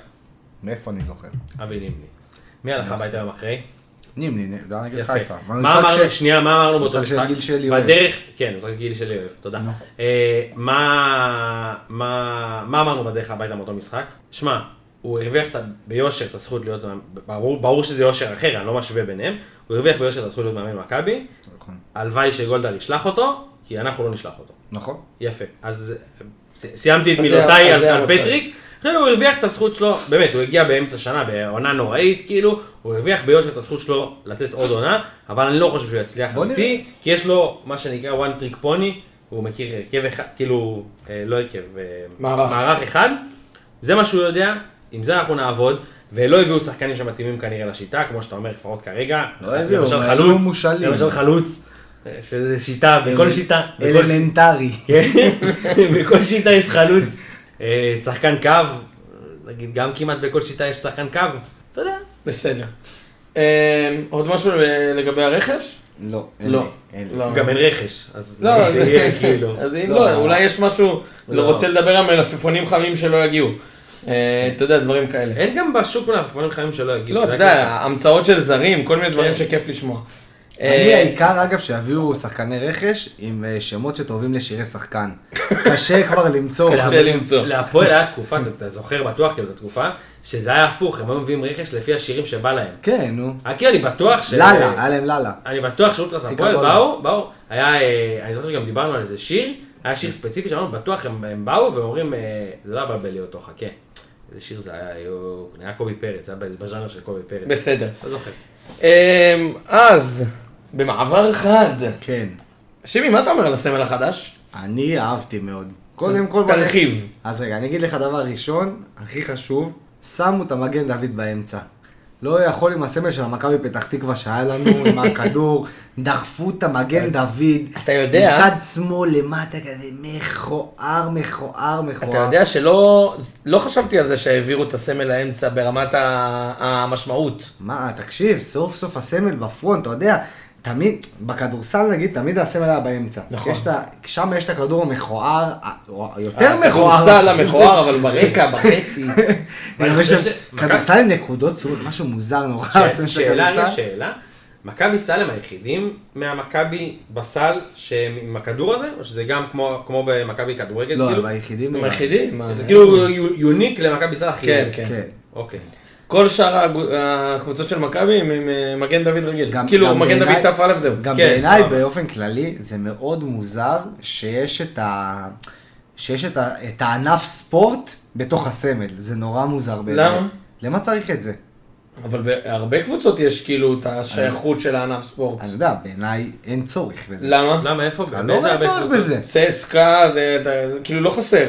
A: מאיפה אני זוכר?
C: אבי נימני. מי הלך הביתה יום אחרי?
A: נימני, זה היה נגד
C: יפה.
A: חיפה. אבל
C: מה
A: משחק
C: אמרנו,
A: ש-
C: שנייה, מה אמרנו באותו
A: משחק
C: משחק?
A: שגיל שלי אוהב.
C: בדרך, כן, משחק שגיל שלי אוהב, תודה. אה, מה מה- מה אמרנו בדרך הביתה מאותו משחק? שמע, הוא הרוויח את ה- ביושר את הזכות להיות, מאמן- ברור ברור שזה יושר אחר, אני לא משווה ביניהם, הוא הרוויח ביושר את הזכות להיות מאמן מכבי,
A: נכון.
C: הלוואי שגולדהר ישלח אותו, כי אנחנו לא נשלח אותו.
A: נכון.
C: יפה, אז ס- סיימתי את
B: אז זה-
C: מילותיי
B: אז
C: על
B: זה
C: על
B: המצב.
C: פטריק. אחרי הוא הרוויח את הזכות שלו, באמת, הוא הגיע באמצע שנה, בעונה נוראית, כאילו, הוא הרוויח ביושר את הזכות שלו לתת עוד עונה, אבל אני לא חושב שהוא יצליח
A: בוא נראה.
C: אמיתי, כי יש לו מה שנקרא one trick pony, הוא מכיר הרכב אחד, כאילו, אה, לא הרכב, אה,
B: מערך.
C: מערך אחד, זה מה שהוא יודע, עם זה אנחנו נעבוד, ולא הביאו שחקנים שמתאימים כנראה לשיטה, כמו שאתה אומר, לפחות כרגע,
A: לא הביאו,
C: למשל
A: הם היו
C: חלוץ,
A: מושאלים.
C: למשל חלוץ, אה, שזה שיטה, בכל שיטה, בכל שיטה.
A: אלמנטרי.
C: כן, בכל שיטה יש חלוץ. אה, שחקן קו, נגיד גם כמעט בכל שיטה יש שחקן קו, אתה יודע.
B: בסדר. אה, עוד משהו אה, לגבי הרכש?
A: לא.
B: לא. לא.
C: גם אין רכש, אז
B: לא,
C: זה יהיה כאילו.
B: אז אם
A: לא,
B: לא,
A: לא.
B: אולי יש משהו, לא
C: לא.
B: רוצה לדבר על מלפפונים חמים שלא יגיעו. אה, אתה יודע, דברים כאלה.
C: אין גם בשוק מלפפונים חיים שלא יגידו.
B: לא, אתה
C: זה
B: יודע,
C: רק-
B: המצאות של זרים, כל מיני דברים
C: כן.
B: שכיף לשמוע.
A: אני
B: אה,
A: העיקר אגב שיביאו שחקני רכש עם אה, שמות שטובים לשירי שחקן. קשה כבר למצוא.
B: קשה למצוא.
C: להפועל היה תקופה, אתה- אתה זוכר בטוח כאילו, זו תקופה, שזה היה הפוך, הם היו מביאים רכש לפי השירים שבא להם.
A: כן, נו.
C: אה, כאילו, אני בטוח ש...
A: לאללה, היה להם לאללה.
C: אני בטוח שאולטרס
A: הכי
C: הפועל
A: גדול.
C: באו, באו, היה, אה, אני זוכר שגם דיברנו על איזה שיר, היה שיר ספציפי שאמרנו, בטוח הם הם באו ואומרים, אה, זה לא יבלבל לי אותו, חכה. איזה שיר זה היה, היו- היה קובי פרץ, היה בז'אנר של קובי פרץ.
B: בסדר.
C: לא זוכר.
B: אה, אז, במעבר חד,
A: כן.
B: שימי, מה אתה אומר על הסמל החדש?
A: אני אהבתי מאוד. קודם כל...
B: תרחיב.
A: אז רגע, אני אגיד לך דבר ראשון, הכי חשוב, שמו את המגן דוד באמצע. לא יכול עם הסמל של המכבי פתח תקווה שהיה לנו עם הכדור, דחפו את המגן דוד.
B: אתה יודע-
A: מצד שמאל למטה כזה מכוער, מכוער, מכוער.
B: אתה יודע שלא לא חשבתי על זה שהעבירו את הסמל לאמצע ברמת ה- המשמעות.
A: מה, תקשיב, סוף סוף הסמל בפרונט, אתה יודע, תמיד, בכדורסל נגיד, תמיד הסמל היה באמצע.
B: נכון.
A: יש את ה- שם יש את הכדור המכוער, ה- או יותר מכוער.
B: הכדורסל המכוער, אבל ברקע, בחצי.
C: אני
A: אבל יש
C: חושב
A: שם-
C: ש- כן,
A: כדורסל עם נקודות צורות, משהו מוזר נורא, הסמל של
C: שאלה, יש
A: הכדורסל.
C: שאלה. מכבי סל הם היחידים מהמכבי בסל שהם עם הכדור הזה, או שזה גם כמו כמו במכבי כדורגל?
A: לא,
C: כאילו?
A: אבל היחידים...
B: הם היחידים? מה?
C: זה כאילו יו- יוניק למכבי סל הכי.
B: כן, כן.
A: כן.
C: אוקיי.
B: כל שאר הגו- הקבוצות של מכבי הם עם אה, מגן דוד רגיל.
A: גם-
B: כאילו,
A: גם
B: מגן
A: בעיניי-
B: דוד תא זהו.
A: גם
C: כן,
A: בעיניי
C: סבבה.
A: באופן כללי זה מאוד מוזר שיש את ה... שיש את, ה... את הענף ספורט בתוך הסמל, זה נורא מוזר בעיניי.
B: למה?
A: למה צריך את זה?
B: אבל בהרבה קבוצות יש כאילו את השייכות של הענף ספורט.
A: אני יודע, בעיניי אין צורך בזה.
B: למה?
C: למה איפה?
A: אני
C: באיזה
A: לא רואה
C: הרבה
A: צורך
C: קבוצות?
A: בזה.
B: צסקה, זה- זה- זה- כאילו לא חסר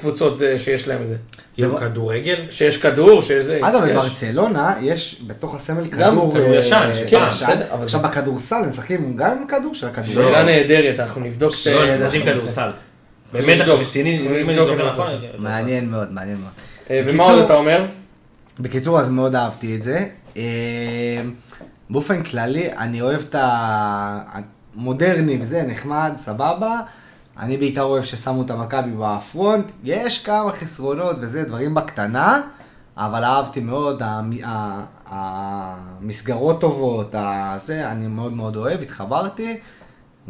B: קבוצות אה, שיש להם את זה.
A: לא.
C: כאילו כדורגל?
B: שיש כדור, שיש זה.
A: אגב,
B: יש.
A: בברצלונה יש בתוך הסמל
B: כן, גם
A: כדור...
B: כדור
A: אה,
C: ישן,
A: אה,
C: של
A: כן,
C: פעם,
A: ישן.
B: בסדר, אבל-
A: עכשיו בכדורסל הם משחקים גם עם כדור של הכדור.
B: שאלה נהדרת, אנחנו נבדוק את
C: לא,
B: אה,
C: הם יודעים
B: אנחנו-
C: כדורסל. באמת, אנחנו רציניים,
B: אנחנו
C: אם אני
B: נבדוק
C: זוכר
B: את זה.
C: נכון.
A: מעניין מאוד, מעניין מאוד.
B: אה, ומה
A: בקיצור-
B: עוד אתה אומר?
A: בקיצור, אז מאוד אהבתי את זה. אה, באופן כללי, אני אוהב את המודרני וזה, נחמד, סבבה. אני בעיקר אוהב ששמו את המכבי בפרונט. יש כמה חסרונות וזה, דברים בקטנה, אבל אהבתי מאוד, המ- ה- המסגרות טובות, ה- זה, אני מאוד מאוד אוהב, התחברתי.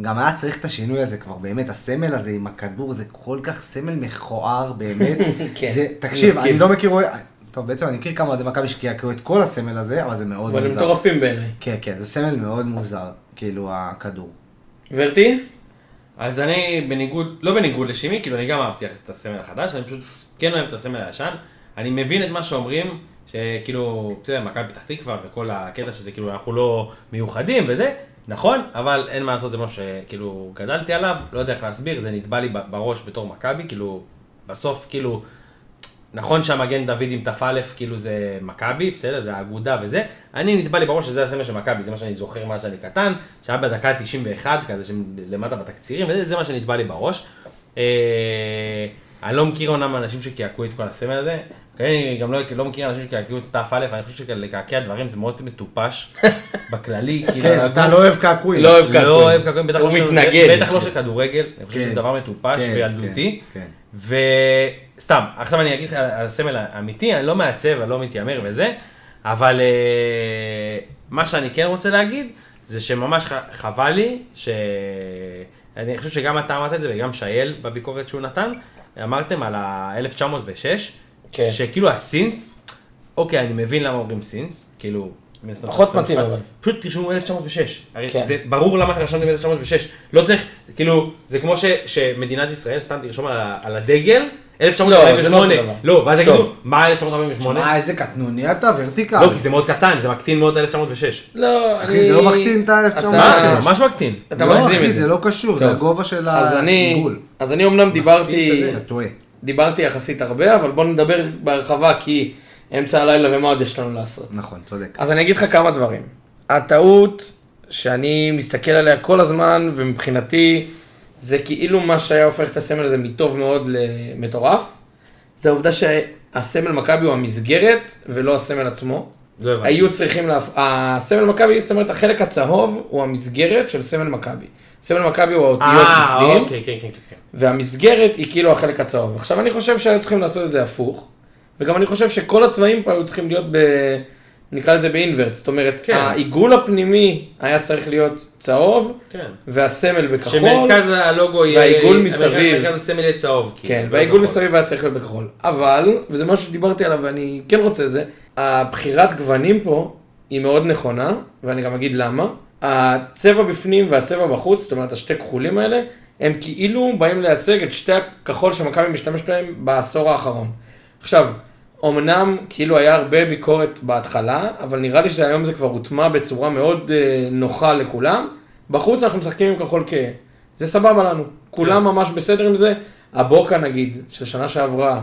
A: גם היה צריך את השינוי הזה כבר, באמת, הסמל הזה עם הכדור, זה כל כך סמל מכוער, באמת.
B: כן,
A: זה, תקשיב,
B: מסכים.
A: אני לא מכיר, טוב, בעצם אני מכיר כמה אוהדי מכבי שקעקעו את כל הסמל הזה, אבל זה מאוד
B: אבל הם
A: מוזר.
B: מטורפים בעיניי.
A: כן, כן, זה סמל מאוד מוזר, כאילו, הכדור.
B: כן, גברתי?
C: אז אני בניגוד, לא בניגוד לשימי, כאילו אני גם אהבתי יחס את הסמל החדש, אני פשוט כן אוהב את הסמל הישן. אני מבין את מה שאומרים, שכאילו, בסדר, מכבי פתח תקווה וכל הקטע שזה כאילו אנחנו לא מיוחדים וזה, נכון, אבל אין מה לעשות, זה משהו שכאילו גדלתי עליו, לא יודע איך להסביר, זה נקבע לי ב- בראש בתור מכבי, כאילו, בסוף כאילו, נכון שהמגן דוד עם תא כאילו זה מכבי, בסדר, זה האגודה וזה, אני נתבע לי בראש שזה הסמל של מכבי, זה מה שאני זוכר מאז שאני קטן, שהיה בדקה 91 כזה, שלמטה בתקצירים, וזה זה מה שנתבע לי בראש. אה, אני לא מכיר אומנם אנשים שקעקעו את כל הסמל הזה, אני גם לא, לא מכיר אנשים שקעקעו את תא אני חושב שלקעקע דברים זה מאוד מטופש בכללי, כאילו,
A: כן, אתה לא אוהב קעקועים.
B: לא אוהב קעקועים.
C: לא אוהב קעקועים, בטח
B: הוא
C: לא של-
B: מתנגד.
C: בטח לא של כדורגל, אני חושב
A: כן.
C: שזה דבר מטופש
A: כן,
C: וילדותי.
A: כן, כן.
C: וסתם, עכשיו אני אגיד לך על על הסמל האמיתי, אני לא מעצב, אני לא מתיימר וזה, אבל אה, מה שאני כן רוצה להגיד, זה שממש ח- חבל לי, ש... אני חושב שגם אתה אמרת את זה וגם שייל בביקורת שהוא נתן, אמרתם על ה-1906,
B: כן.
C: שכאילו הסינס, אוקיי, אני מבין למה אומרים סינס, כאילו... מן הסתם
B: פחות
C: במשפט.
B: מתאים, אבל.
C: פשוט תרשמו 1906. הרי
B: כן.
C: זה ברור למה רשמתם 1906. לא צריך, כאילו, זה כמו ש, שמדינת ישראל סתם תרשום על, ה- על הדגל,
B: לא, זה לא אותו
C: 1948.
B: דבר.
C: לא, ואז
B: טוב.
C: יגידו, מה 1948?
A: מה, איזה קטנוני אתה, ורטיקל.
C: לא, כי זה מאוד קטן, זה מקטין מאוד את 1906.
B: לא,
A: אחי, זה לא מקטין את ה-
B: אתה-
C: מה? ממש מקטין.
B: אתה
A: לא,
B: מגזים
A: אחי,
B: את זה.
A: זה לא קשור, זה
B: טוב.
A: הגובה של
B: אז אני,
A: העיגול.
B: אז אני אומנם דיברתי,
A: אתה טועה.
B: דיברתי יחסית הרבה, אבל בוא נדבר בהרחבה, כי אמצע הלילה ומה עוד יש לנו לעשות.
A: נכון, צודק.
B: אז אני אגיד לך כמה דברים. הטעות שאני מסתכל עליה כל הזמן, ומבחינתי זה כאילו מה שהיה הופך את הסמל הזה מטוב מאוד למטורף, זה העובדה שהסמל מכבי הוא המסגרת ולא הסמל עצמו.
C: לא הבנתי.
B: היו צריכים, להפ... הסמל מכבי, זאת אומרת החלק הצהוב הוא המסגרת של סמל מכבי. סמל מכבי הוא האותיות
C: אה,
B: בפנים.
C: אוקיי, כן, כן, כן, כן.
B: והמסגרת היא כאילו החלק הצהוב. עכשיו אני חושב שהיו צריכים לעשות את זה הפוך, וגם אני חושב שכל הצבעים פה היו צריכים להיות ב... נקרא לזה באינברט, זאת אומרת, כן.
C: כן.
B: העיגול הפנימי היה צריך להיות צהוב,
C: כן.
B: והסמל בכחול,
C: שמרכז הלוגו יהיה...
B: והעיגול מסביב.
C: מרכז הסמל יהיה צהוב. כאילו,
B: כן,
C: זה
B: והעיגול
C: נכון.
B: מסביב היה צריך להיות בכחול. אבל, וזה משהו שדיברתי עליו ואני כן רוצה את זה, הבחירת גוונים פה היא מאוד נכונה, ואני גם אגיד למה. הצבע בפנים והצבע בחוץ, זאת אומרת השתי כחולים האלה, הם כאילו באים לייצג את שתי הכחול שמכבי משתמשת בהם בעשור האחרון. עכשיו, אמנם כאילו היה הרבה ביקורת בהתחלה, אבל נראה לי שהיום זה כבר הוטמע בצורה מאוד אה, נוחה לכולם. בחוץ אנחנו משחקים עם כחול כהה. זה סבבה לנו, כולם ממש בסדר עם זה. הבוקה נגיד, של שנה שעברה,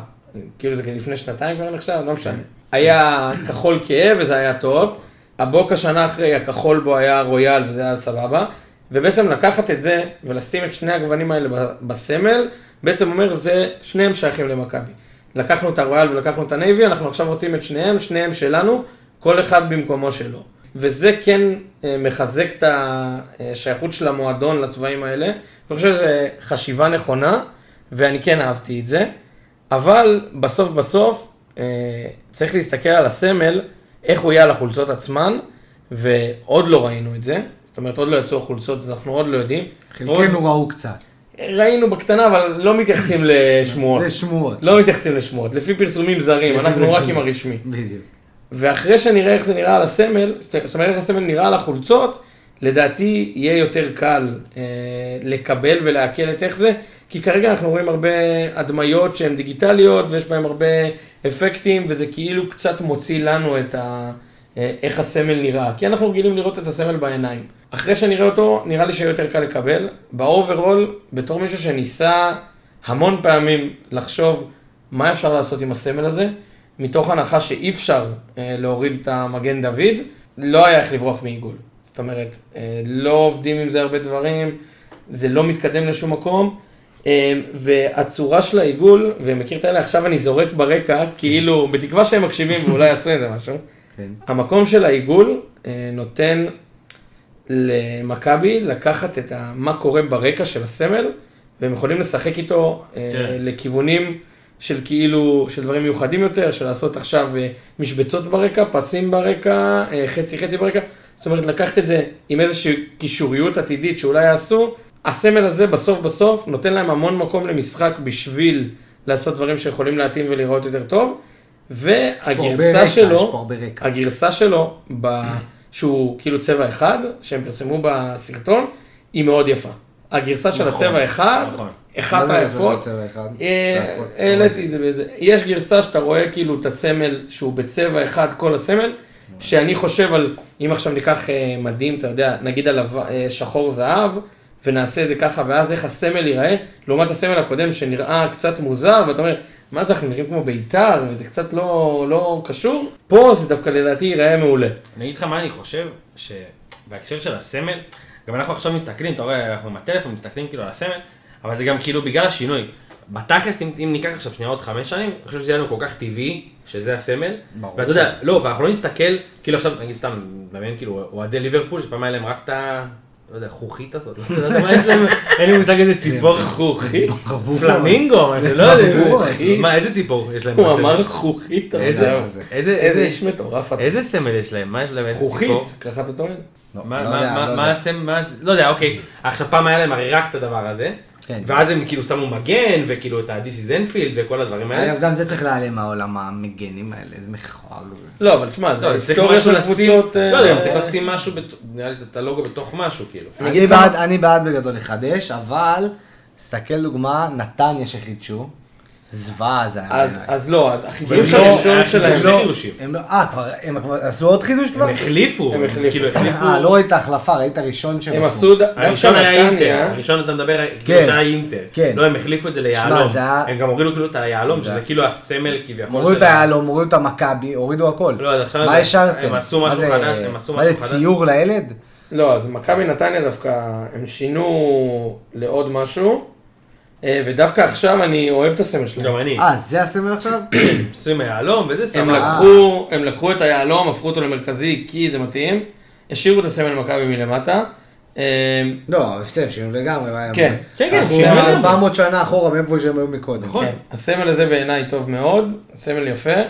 B: כאילו זה לפני שנתיים כבר נחשב, לא משנה. היה כחול כהה וזה היה טוב, הבוקה שנה אחרי הכחול בו היה רויאל וזה היה סבבה, ובעצם לקחת את זה ולשים את שני הגוונים האלה ב- בסמל, בעצם אומר זה, שניהם שייכים למכבי. לקחנו את הרויאל ולקחנו את הנייבי, אנחנו עכשיו רוצים את שניהם, שניהם שלנו, כל אחד במקומו שלו. וזה כן אה, מחזק את השייכות של המועדון לצבעים האלה. אני חושב שזו חשיבה נכונה, ואני כן אהבתי את זה. אבל בסוף בסוף אה, צריך להסתכל על הסמל, איך הוא יהיה על החולצות עצמן, ועוד לא ראינו את זה. זאת אומרת, עוד לא יצאו החולצות, אז אנחנו עוד לא יודעים.
A: חלקנו ראו קצת.
B: ראינו בקטנה, אבל לא מתייחסים לשמועות.
A: זה שמועות.
B: לא מתייחסים לשמועות, לפי פרסומים זרים,
A: לפי
B: אנחנו רק
A: פרסומים.
B: עם הרשמי.
A: בדיוק.
B: ואחרי שנראה איך זה נראה על הסמל, זאת זאת אומרת איך הסמל נראה על החולצות, לדעתי יהיה יותר קל אה, לקבל ולעכל את איך זה, כי כרגע אנחנו רואים הרבה הדמיות שהן דיגיטליות ויש בהן הרבה אפקטים וזה כאילו קצת מוציא לנו את ה... אה, איך הסמל נראה, כי אנחנו רגילים לראות את הסמל בעיניים. אחרי שנראה אותו, נראה לי שיהיה יותר קל לקבל. באוברול, בתור מישהו שניסה המון פעמים לחשוב מה אפשר לעשות עם הסמל הזה, מתוך הנחה שאי אפשר אה, להוריד את המגן דוד, לא היה איך לברוח מעיגול. זאת אומרת, אה, לא עובדים עם זה הרבה דברים, זה לא מתקדם לשום מקום, אה, והצורה של העיגול, ומכיר את האלה, עכשיו אני זורק ברקע, כאילו, בתקווה שהם מקשיבים ואולי יעשו איזה משהו,
A: כן.
B: המקום של העיגול אה, נותן למכבי לקחת את ה, מה קורה ברקע של הסמל, והם יכולים לשחק איתו אה,
C: כן.
B: לכיוונים של כאילו, של דברים מיוחדים יותר, של לעשות עכשיו אה, משבצות ברקע, פסים ברקע, אה, חצי חצי ברקע. זאת אומרת, לקחת את זה עם איזושהי קישוריות עתידית שאולי יעשו, הסמל הזה בסוף בסוף נותן להם המון מקום למשחק בשביל לעשות דברים שיכולים להתאים ולהיראות יותר טוב,
A: יש פה הרבה
B: והגרסה
A: רקע,
B: שלו...
A: יש פה הרבה רקע.
B: הגרסה שלו, ב... שהוא כאילו צבע אחד, שהם פרסמו בסרטון, היא מאוד יפה. הגרסה של
C: נכון,
B: הצבע אחד,
C: נכון.
A: מה
B: אחת
A: זה הגרסה של
B: היפות.
A: צבע אחד?
B: אה,
A: שהכל-
B: העליתי את זה באיזה, יש גרסה שאתה רואה כאילו את הסמל שהוא בצבע אחד כל הסמל, שאני חושב על, אם עכשיו ניקח אה, מדים, אתה יודע, נגיד על הלבן- אה, שחור זהב, ונעשה את זה ככה, ואז איך הסמל ייראה, לעומת הסמל הקודם שנראה קצת מוזר, ואתה אומר, מה זה, אנחנו נראים כמו בית"ר, וזה קצת לא, לא קשור, פה זה דווקא לדעתי ייראה מעולה.
C: אני אגיד לך מה אני חושב, שבהקשר של הסמל, גם אנחנו עכשיו מסתכלים, אתה רואה, אנחנו עם הטלפון מסתכלים כאילו על הסמל, אבל זה גם כאילו בגלל השינוי. בתכלס, אם, אם ניקח עכשיו שנייה עוד חמש שנים, אני חושב שזה יהיה לנו כל כך טבעי, שזה הסמל.
A: ברור.
C: ואתה יודע, לא, ואנחנו לא נסתכל, כאילו עכשיו, נגיד סתם, מדמיין כאילו אוהדי ליברפול, שפעם היה להם רק את ה... לא יודע, חוכית הזאת, לא יודע מה יש להם, אין לי מושג איזה ציפור חוכית,
A: ברור.
C: פלמינגו, מה שלא יודע,
A: ברור.
C: מה, איזה ציפור יש להם?
B: הוא
C: בסמל?
B: אמר חוכית, אבל
A: איזה-
B: זה היה-
A: איזה-
C: איזה,
B: איזה
C: איזה,
B: איש מטורף אתה.
C: איזה סמל יש להם? מה יש להם? איזה ציפור?
B: חוכית, ככה אתה טוען?
A: אוקיי. לא,
C: מה-
A: לא
C: מה-
A: יודע,
C: מה-
A: לא
C: מה
A: יודע.
C: הסמל, מה- לא יודע, אוקיי. עכשיו פעם היה להם הרי רק את הדבר הזה,
A: כן.
C: ואז הם כאילו שמו מגן, וכאילו את ה-This is Enfield וכל הדברים האלה.
A: אגב, גם זה צריך להיעלם מהעולם המגנים האלה, זה מכוער.
B: לא, אבל תשמע, זה
C: לא, צריך
B: היסטוריה
C: משהו
B: של
C: לשים,
B: קבוצות...
C: לא
B: אה,
C: יודע, גם צריך לשים משהו, בת- נראה לי את הלוגו בתוך משהו, כאילו.
A: אני בעד- אני בעד בגדול לחדש, אבל, תסתכל דוגמה, נתניה שחידשו, זוועה זה היה.
B: אז,
A: בעיניי.
B: אז לא, אז החידוש
C: אה, לא-
B: הראשון
C: החידוש
B: שלהם,
C: לא- חידושים.
A: הם לא, אה, כבר, הם כבר עשו עוד חידוש כבר?
C: הם החליפו,
B: הם החליפו.
C: כאילו
A: אה, לא
C: החליפו.
A: ראית החלפה, ראית ראשון שהם
B: הם עשו ד- דווקא
C: הראשון היה אינטר,
B: נתניה,
C: הראשון אתה מדבר, כאילו
A: כן.
C: זה היה אינטר.
A: כן.
C: לא, הם החליפו את זה ליהלום.
A: זה היה-
C: הם גם הורידו כאילו את היהלום,
A: זה
C: שזה
A: היה-
C: כאילו הסמל כביכול.
A: הם הורידו את
C: של ה-
A: היהלום, הורידו את המכבי, הורידו הכל.
C: לא, אז עכשיו
A: מה
C: הם-
A: השארתם?
C: הם עשו
A: מה
C: משהו
A: זה-
C: חדש, הם עשו
A: מה
C: משהו
A: זה
C: חדש.
A: ציור לילד?
B: לא, אז מכבי נתניה דווקא, הם שינו לעוד משהו, אה, ודווקא עכשיו אני אוהב את הסמל שלהם.
C: גם אני.
A: אה, זה הסמל עכשיו?
C: הם עשו עם היהלום, וזה
B: הם
C: סבבה.
B: לקחו, הם לקחו את היהלום, הפכו אותו למרכזי, כי זה מתאים, השאירו את הסמל מכבי מלמטה, אה,
A: לא, בסדר, שינוי לגמרי. מה היה-
B: כן.
C: כן, כן,
A: אנחנו
C: שינוי לגמרי.
A: 400 שנה אחורה מאיפה שהם היו מקודם.
C: נכון.
B: כן, הסמל הזה בעיניי טוב מאוד, סמל יפה,
A: לא,
B: אה,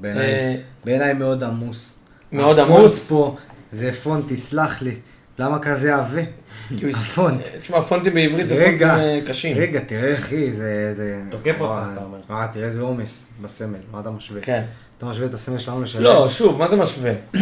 A: בעיניי- בעיניי מאוד עמוס.
B: מאוד
A: הפונט
B: עמוס.
A: פה, זה פונט, תסלח לי. למה כזה עבה?
B: כי הוא- אה,
A: הפונט.
B: תשמע, הפונטים בעברית זה פונטים
A: רגע,
B: אה, קשים.
A: רגע, תראה אחי, זה... זה-
C: תוקף אותך,
A: וואי,
C: אתה אומר.
A: וואי, תראה איזה עומס בסמל, מה אתה משווה?
B: כן.
A: אתה משווה את הסמל שלנו לשלם?
B: לא, שוב, מה זה משווה? אמ,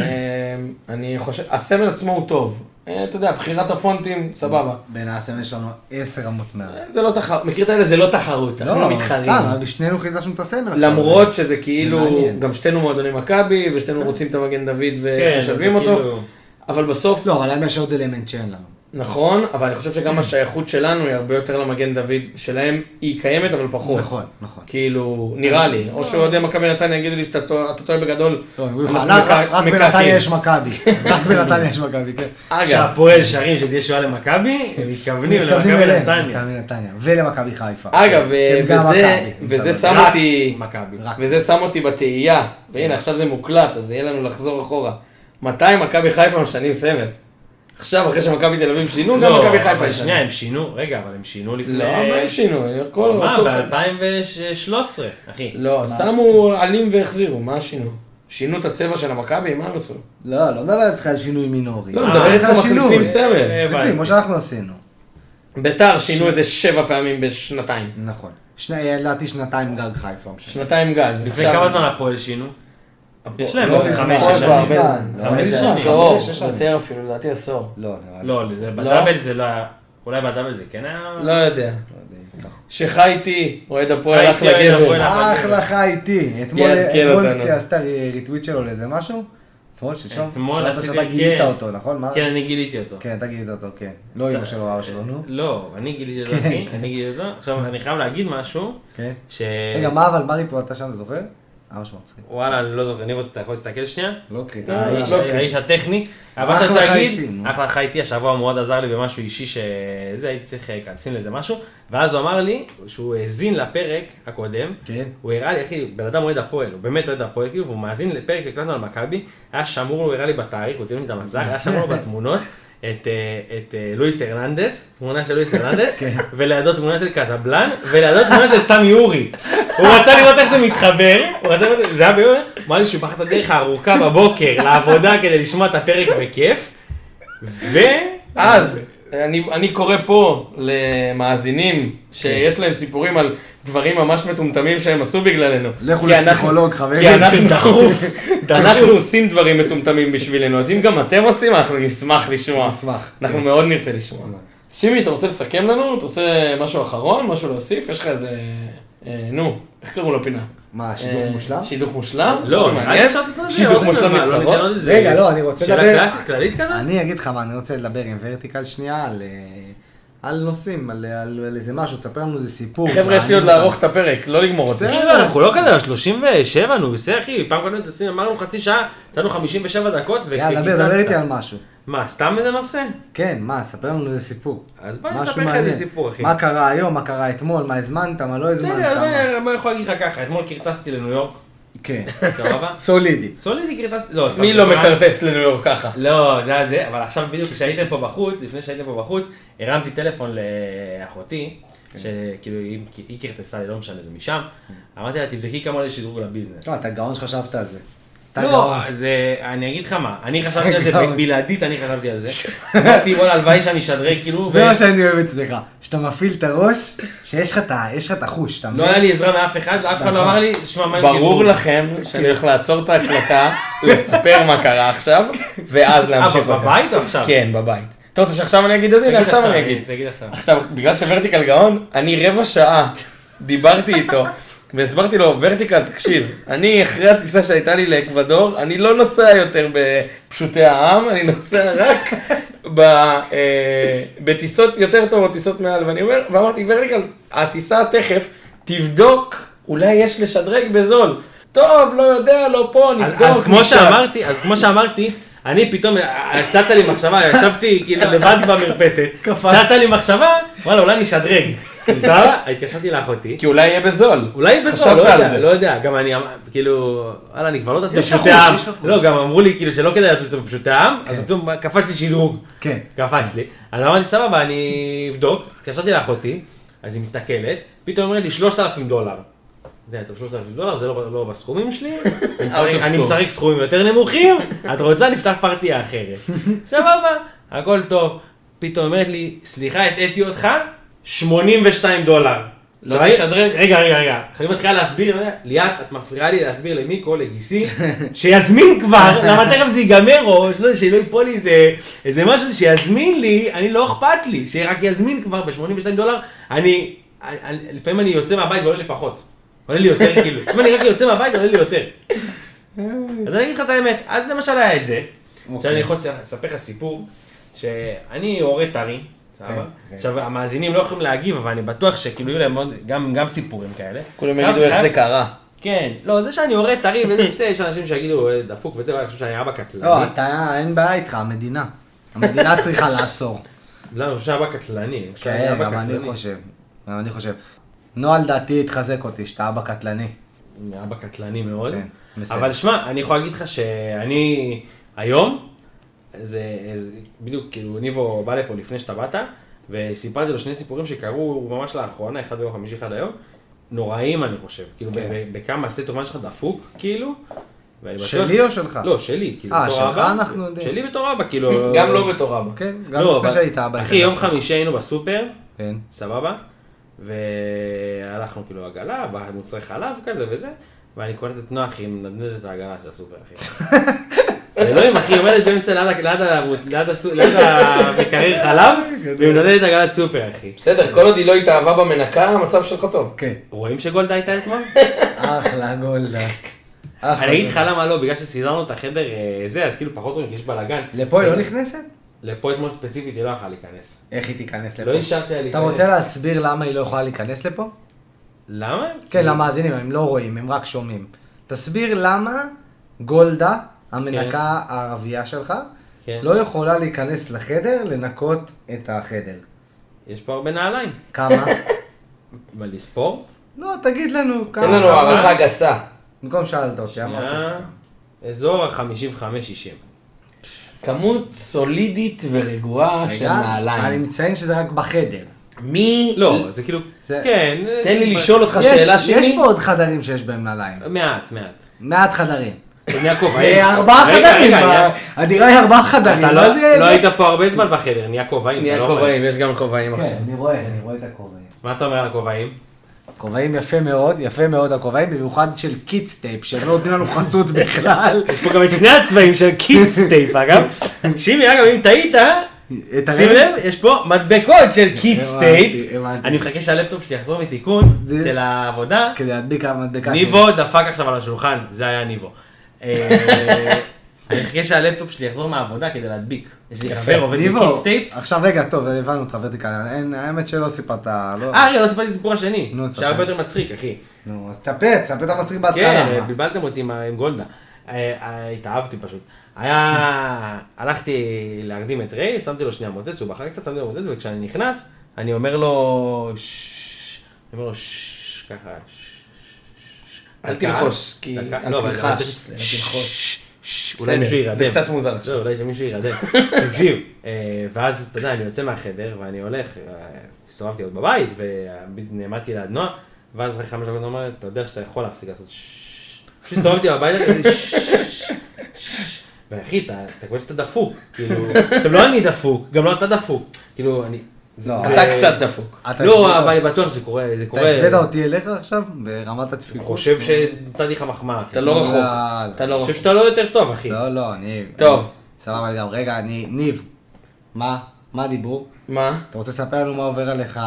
B: אני חושב, הסמל עצמו הוא טוב. אה, אתה יודע, בחירת הפונטים, סבבה.
A: בין הסמל שלנו עשר רמות מעל.
B: זה לא תחרות, מכיר את האלה? זה לא תחרות, אנחנו לא
A: לא,
B: מתחרים.
A: סתם, אבל שנינו חידשנו את הסמל עכשיו.
B: למרות שזה כאילו,
A: מעניין.
B: גם שתינו מועדוני מכבי, ושתינו רוצים את המגן דוד
C: כן, זה
B: ומשלבים
C: כאילו-
B: אותו, אבל בסוף,
A: זה- לא, אבל להם יש עוד אלמנט שאין לנו.
B: נכון, אבל אני חושב
A: כן.
B: שגם השייכות שלנו היא הרבה יותר למגן דוד שלהם, היא קיימת אבל פחות.
A: נכון, נכון.
B: כאילו, נראה לי, או שאוהדי מכבי נתניה יגידו לי שאתה טוע- אתה טועה בגדול.
A: לא, הם אומרים לך,
B: אנחנו
A: "רק-
B: מקע-
A: רק
B: מקעקעים."
A: בנתניה יש מכבי, רק בנתניה יש מכבי, כן.
B: אגב,
C: שהפועל שרים שתהיה שואה למכבי, הם
A: מתכוונים
C: מתכוונים למכבי
A: אליהם,
C: נתניה.
A: מכבי נתניה, ולמכבי חיפה.
B: אגב, ו-
A: כן, שהם גם
B: וזה,
A: מכבי, כאילו,
B: וזה
A: אתה
B: שם
C: רק
B: אותי,
C: מכבי.
A: רק.
B: וזה שם אותי בתהייה, והנה עכשיו זה מוקלט, אז יהיה לנו לחזור אחורה. מתי מכבי חיפה משנים סמל? עכשיו, אחרי שמכבי תל אביב שינו, גם
C: לא,
B: מכבי חיפה
C: אבל
B: ישנו.
C: שנייה, הם שינו, רגע, אבל הם שינו לפני...
B: לא, מה הם שינו? הכל
C: מה,
B: אותו-
C: ב-2013, אחי.
B: לא, שמו עלים והחזירו, מה שינו? שינו את הצבע של המכבי? מה הם עשו?
A: לא, לא מדבר איתך על שינוי מינורי.
B: לא,
C: אה,
B: מדבר איתך
A: אה, שינוי.
B: מחליפים סמל.
C: הבנתי.
A: לפי, כמו שאנחנו עשינו.
B: ביתר שינו איזה שבע פעמים בשנתיים.
A: נכון. שני, לדעתי שנתיים גג חיפה. לא משנה.
B: שנתיים גג.
C: לפני כמה זמן הפועל שינו? יש להם עוד חמש, שש שנים. חמש, שש שנים.
B: עשור,
A: חמש, לא, שש שנים.
B: יותר אפילו, לדעתי עשור.
A: לא, נראה לי.
C: לא, זה- בדאבל זה לא היה... אולי בדאבל זה כן היה...
B: לא יודע.
A: לא יודע, ככה.
B: שחי איתי, אוהד הפועל
C: חי
B: הלך
C: איתי, אוהד
B: לגבר.
C: הפועל.
A: אחלה חי איתי. אתמול
B: יעדכן
A: אתמול
B: אותנו.
A: צי- עשית ריטוויט שלו לאיזה משהו? אתמול, שלשום?
C: אתמול
A: שאלת
C: עשיתי-
A: שאתה לא. גילית
C: כן.
A: אותו, נכון? מה?
C: כן, אני גיליתי אותו.
A: כן, אתה גילית אותו, כן. לא אמא שלו, אבא שלו, נו.
C: לא, אני גיליתי אותו, אחי, אני גיליתי אותו. עכשיו, אני חייב להגיד משהו,
A: כן.
C: ש...
A: רגע, מה אבל, מה ריטוויט אתה שם, זוכר? אבא שלו מצחיק.
C: וואלה, אני לא זוכר, אני אתה יכול להסתכל שנייה?
A: לא קריטי.
C: אה, האיש- האיש הטכני. אבל מה
A: אחלה
C: שאני רוצה
A: חייתי,
C: להגיד,
A: נו.
C: אחלה חי איתי, השבוע הוא מאוד עזר לי במשהו אישי שזה, הייתי צריך אה, לשים לזה משהו, ואז הוא אמר לי שהוא האזין לפרק הקודם,
A: כן.
C: הוא הראה לי, אחי, בן אדם אוהד הפועל, הוא באמת אוהד הפועל, כאילו, והוא מאזין לפרק שהקלטנו על מכבי, היה שמור, לו, הוא הראה לי בתאריך, הוא צילם לי את המזל, היה שמור לו בתמונות. את, אה, את אה, לואיס הרננדס, תמונה של לואיס הרננדס,
A: כן.
C: ולידו תמונה של קזבלן, ולידו תמונה של סמי אורי. הוא רצה לראות איך זה מתחבר, הוא רצה לראות, זה היה ביום, הוא אמר לי שהוא בחר את הדרך הארוכה בבוקר לעבודה כדי לשמוע את הפרק בכיף, ו...
B: אז, אני, אני קורא פה למאזינים שיש להם סיפורים על דברים ממש מטומטמים שהם עשו בגללנו.
A: לכו
B: כי אנחנו-
A: לפסיכולוג, חברים. כן,
B: כי אנחנו,
C: דחוף,
B: אנחנו עושים דברים מטומטמים בשבילנו, אז אם גם אתם עושים, אנחנו נשמח לשמוע.
A: נשמח.
B: אנחנו מאוד נרצה לשמוע. אז שימי, אתה רוצה לסכם לנו? אתה רוצה משהו אחרון? משהו להוסיף? יש לך איזה... אה, נו, איך קראו לפינה?
A: מה, שידוך
B: אה,
A: מושלם?
B: שידוך מושלם?
C: לא,
B: משהו
C: נראה לי
B: מעניין?
C: אפשר לתת לו את זה,
B: שידוך
C: עוד
B: מושלם
C: מה, לא ניתן לו
B: נבחרות?
C: את זה.
A: רגע, לא, אני רוצה לדבר...
C: שאלה קלאסית כללית כזאת?
A: אני אגיד לך מה, אני רוצה לדבר עם ורטיקל שנייה על, אה, על נושאים, על, על, על איזה משהו, תספר לנו איזה סיפור.
B: חבר'ה, יש לי עוד
A: מעניין
B: לערוך את הפרק, לא לגמור אותו.
A: בסדר.
C: אחי, לא, אנחנו לא כזה, 37, נו, בסדר, אחי, פעם קודמת עשינו, אמרנו חצי שעה, נתנו 57 דקות,
A: אותנו. יאללה, דבר, דבר איתי
C: וקיצצת.
A: על משהו.
C: מה, סתם איזה נושא?
A: כן, מה, ספר לנו איזה סיפור.
C: אז בוא אני
A: משהו
C: אספר לך איזה
A: מעניין.
C: סיפור, אחי.
A: מה קרה היום, מה קרה אתמול, מה הזמנת, מה לא הזמנת.
C: בסדר, אז
A: מה...
C: בוא- בוא אני יכול להגיד לך ככה, אתמול כרטסתי לניו יורק,
A: כן,
C: סבבה?
A: סולידי.
C: סולידי כרטסתי, לא, סתם.
B: מי לא
C: סבבה?
B: מקרטס לניו יורק ככה?
C: לא, זה היה זה, אבל עכשיו בדיוק כשהייתם פה בחוץ, לפני שהייתם פה בחוץ, הרמתי טלפון לאחותי,
A: כן.
C: שכאילו היא- היא כרטסה לי, לא משנה, זה משם, אמרתי לה, תבדקי כמה עולה שדרוג לביזנס.
A: לא, אתה גאון שחשבת על זה. אתה
C: לא,
A: גאון.
C: זה, אני אגיד לך מה, אני חשבתי על זה,
A: גאון.
C: בלעדית אני חשבתי על זה. אמרתי, וואלה, הלוואי שאני אשדרג, כאילו,
A: זה
C: ו-
A: מה שאני אוהב אצלך, שאתה מפעיל את הראש, שיש לך את ה- יש לך את החוש, אתה
C: לא
A: מבין?
C: היה לי עזרה מאף אחד, ואף אחד לא
A: נכון.
C: אמר לי, שמע, מה עם
B: ברור לכם
C: כן.
B: שאני הולך לעצור את ההקלטה, לספר מה קרה עכשיו, ואז
C: אה,
B: להמשיך.
C: אבל בבית או עכשיו?
B: כן, בבית. אתה רוצה שעכשיו אני אגיד אז
C: תגיד
B: הנה, עכשיו
C: עכשיו,
B: אני אגיד.
C: תגיד עכשיו.
B: עכשיו, בגלל שוורטיקל גאון, אני רבע שעה דיברתי איתו, והסברתי לו, ורטיקל, תקשיב, אני אחרי הטיסה שהייתה לי לאקוודור, אני לא נוסע יותר בפשוטי העם, אני נוסע רק ב, אה, בטיסות יותר טובות, טיסות מעל, ואני אומר, ואמרתי, ורטיקל, הטיסה תכף, תבדוק, אולי יש לשדרג בזול. טוב, לא יודע, לא פה,
C: אז-
B: נבדוק.
C: אז כמו
B: נשאל."
C: שאמרתי, אז כמו שאמרתי, אני פתאום, צצה לי מחשבה, ישבתי כאילו לבד במרפסת, צצה לי מחשבה, וואלה, אולי אני אשדרג. סבבה? התקשרתי לאחותי.
B: כי אולי יהיה בזול.
C: אולי בזול,
B: חשבת
C: לא
B: על
C: יודע,
B: זה.
C: לא יודע, גם אני אמר- כאילו, וואלה, אני כבר לא טס
A: יש לך
C: בפשוטי
A: חוש,
C: העם.
A: יש לך חוש.
C: לא, גם אמרו לי כאילו שלא כדאי לטוס בפשוטי העם,
B: כן.
C: אז פתאום קפץ לי שדרוג.
A: כן.
C: קפץ לי. אז אמרתי, סבבה, אני אבדוק. התקשרתי לאחותי, אז היא מסתכלת, פתאום אומרת לי 3,000 דולר. אתה יודע, טוב, 3,000 דולר זה לא לא בסכומים שלי, אני משחק- אני משחק סכומים יותר נמוכים, את רוצה נפתח פרטיה אחרת. סבבה, הכל טוב. פתאום אומרת לי, סליחה, הטעיתי אותך, 82 דולר.
B: לא
C: עכשיו,
B: תשדרג?
C: רגע, רגע, רגע. עכשיו היא מתחילה להסביר, אני אומר, ליאת, את מפריעה לי להסביר למיקו, לגיסי, שיזמין כבר, למה תכף זה ייגמר, או שלא- שלא ייפול לי איזה- איזה משהו, שיזמין לי, אני לא אכפת לי, שרק יזמין כבר ב-82 דולר, אני, אני- אני- לפעמים אני יוצא מהבית ועולה לי פחות. עולה לי יותר, כאילו. אם אני רק יוצא מהבית, עולה לי יותר.
A: אוקיי.
C: אז אני אגיד לך את האמת, אז למשל היה את זה. עכשיו אני יכול לספר לך סיפור, שאני הורה טרי, סבבה?
A: כן.
C: עכשיו, המאזינים לא יכולים להגיב, אבל אני בטוח שכאילו יהיו להם עוד- גם גם סיפורים כאלה.
B: כולם
C: חייב-
B: יגידו איך
C: חייב-
B: זה קרה.
C: כן, לא, זה שאני הורה טרי וזה בסדר, יש אנשים שיגידו, "אה, דפוק וזה, ואני חושב שאני אבא קטלני.
A: לא, אתה, אין בעיה איתך, המדינה. המדינה צריכה לאסור.
C: לא, אני חושב שאבא קטלני. אני חושב שאני
A: כן,
C: אבא
A: גם אני
C: קטלני.
A: חושב. גם אני חושב. נועה לדעתי התחזק אותי, שאתה אבא קטלני.
C: אני אבא קטלני מאוד.
A: כן, בסדר.
C: אבל שמע, אני יכול להגיד לך שאני היום, זה, זה בדיוק, כאילו, ניבו בא לפה לפני שאתה באת, וסיפרתי לו שני סיפורים שקרו ממש לאחרונה, אחד ביום חמישי, אחד היום, נוראים אני חושב, כאילו,
A: כן.
C: ב- ב- בכמה הסטייט אומן שלך דפוק, כאילו, ואני בטוח-
A: שלי או שלך?
C: לא, שלי, כאילו,
A: אה,
C: בתור
A: שלך
C: אבא.
A: אנחנו יודעים.
C: שלי בתור אבא, כאילו...
B: גם לא בתור אבא.
A: כן, גם
C: לא,
A: לפני
C: אבל-
A: שהיית אבא. כן, נכון.
C: אחי, יום
A: התחזק.
C: חמישי היינו בסופר,
A: כן.
C: סבבה? והלכנו כאילו עגלה, בא מוצרי חלב כזה וזה, ואני קולט את נוח היא מנדנדת את העגלה של הסופר, אחי. אלוהים, אחי, היא עומדת באמצע ליד ה- ליד הערוץ, ליד הסו- ליד המקרר חלב, והיא מנדנדת את עגלת סופר, אחי.
B: בסדר, כל עוד היא לא התאהבה במנקה, המצב שלך טוב.
A: כן.
C: רואים שגולדה הייתה אתמול?
A: אחלה גולדה. אחלה
C: אני אגיד לך
A: גולדה.
C: למה לא, בגלל שסידרנו את החדר אה, זה, אז כאילו פחות רואים כי יש בלאגן.
A: לפה היא לא נכנסת?
C: לפה אתמול ספציפית היא לא יכלה להיכנס.
A: איך היא תיכנס לפה?
C: לא נשארתי לה
A: אתה
C: להיכנס.
A: רוצה להסביר למה היא לא יכולה להיכנס לפה?
C: למה?
A: כן, למאזינים, הם לא רואים, הם רק שומעים. תסביר למה גולדה, המנקה הערבייה שלך,
C: כן.
A: לא יכולה להיכנס לחדר לנקות את החדר.
C: יש פה הרבה נעליים.
A: כמה?
C: מה, לספור?
A: לא, תגיד לנו כמה.
B: תן לנו
A: כמה?
B: הערכה גסה.
A: במקום שאלת אותי, אמרת.
C: שנייה, אזור ה-55-60.
B: כמות סולידית ורגועה של
A: רגע, אני
B: נעליים.
A: מציין שזה רק בחדר.
B: מי...
C: לא, זה כאילו,
A: זה-
C: כן.
B: תן לי
C: זה-
B: לשאול אותך
A: יש-
B: שאלה שלי.
A: יש פה עוד חדרים שיש בהם נעליים.
C: מעט, מעט.
A: מעט חדרים.
C: בני יעקב,
A: זה
C: האם-
A: ארבעה
C: רגע,
A: חדרים,
C: רגע,
A: מה-
C: אני-
A: הדירה היא ארבעה חדרים.
C: אתה
A: מה
C: לא-
A: זה-
C: לא היית פה הרבה זמן בחדר, נהיה כובעים. אתה
B: נהיה
C: לא
B: כובעים, יש גם כובעים עכשיו.
A: כן, אני רואה, אני רואה את הכובעים.
C: רואה. מה אתה אומר על הכובעים?
A: כובעים יפה מאוד, יפה מאוד הכובעים, במיוחד של קיטסטייפ, שהם לא נותנים לנו חסות בכלל.
C: יש פה גם את שני הצבעים של קידסטייפ, אגב. שימי, אגב, אם טעית,
A: את
C: שים
A: הרב-
C: לב, יש פה מדבקות של קידסטייפ.
A: הבנתי, הבנתי.
C: אני מחכה שהלפטופ שלי יחזור מתיקון
A: זה- כן,
C: של העבודה.
A: כדי להדביק על המדבקה שלי.
C: ניבו דפק עכשיו על השולחן, זה היה ניבו. אה, אני אחכה שהלפטופ שלי יחזור מהעבודה כדי להדביק. יש לי חבר עובד
A: ניבו,
C: בקידסטייפ.
A: עכשיו רגע, טוב, הבנו אותך, ורטיקל, אין- האמת שלא סיפרת, לא.
C: אה, רגע, לא סיפרתי את הסיפור השני.
A: נו, תספר.
C: שהיה הרבה יותר מצחיק, אחי.
A: נו, אז תספר, תספר את המצחיק בהתחלה. אה, לא.
C: כן,
A: מה?
C: בלבלתם אותי עם ה- עם גולדה. אה, אה, התאהבתי פשוט. היה... הלכתי להרדים את ריי, שמתי לו שנייה מוצץ, הוא בחר קצת, שמתי לו מוצץ, וכשאני נכנס, אני אומר לו... "ששש", אני אומר לו... "ששש", ככה... "ששש".
B: אל
C: דקה,
B: תלחוש, כי
C: דקה,
B: אל
C: לא, אבל אני
B: תלחש,
C: רוצה-
B: אל תלחש.
C: "ששש",
B: בסדר,
C: אולי מישהו
B: זה
C: ירדם.
B: קצת מוזר
C: לא,
B: עכשיו.
C: אולי שמישהו ירדם. תקשיב, אה, ואז, אתה יודע, אני יוצא מהחדר, ואני הולך, אה, הסתובבתי עוד בבית, ונעמדתי ליד נועה, ואז אחרי חמש דקות אומרת, אתה יודע שאתה יכול להפסיק לעשות ששש. פשוט הסתובבתי בבית, כזה "ששש, ששש". ואחי, אתה אתה קורא שאתה דפוק, כאילו, עכשיו לא אני דפוק, גם לא אתה דפוק, כאילו, אני...
A: לא,
C: זה-
B: אתה קצת דפוק.
A: אתה השווית-
C: לא, אבל אני בטוח שזה קורה, זה
A: אתה
C: קורה.
A: השווית אותי אליך עכשיו? ברמת
C: אני
A: הדפיקות?
C: חושב שנתתי לך מחמאה. כאילו.
B: אתה לא רחוק.
A: לא,
B: אתה
C: אני
B: לא
C: חושב
B: רחוק.
C: שאתה לא יותר טוב, אחי.
A: לא, לא, אני...
B: טוב.
A: סבבה לגמרי. רגע, אני... ניב, מה? מה הדיבור?
B: מה?
A: אתה רוצה לספר לנו מה עובר עליך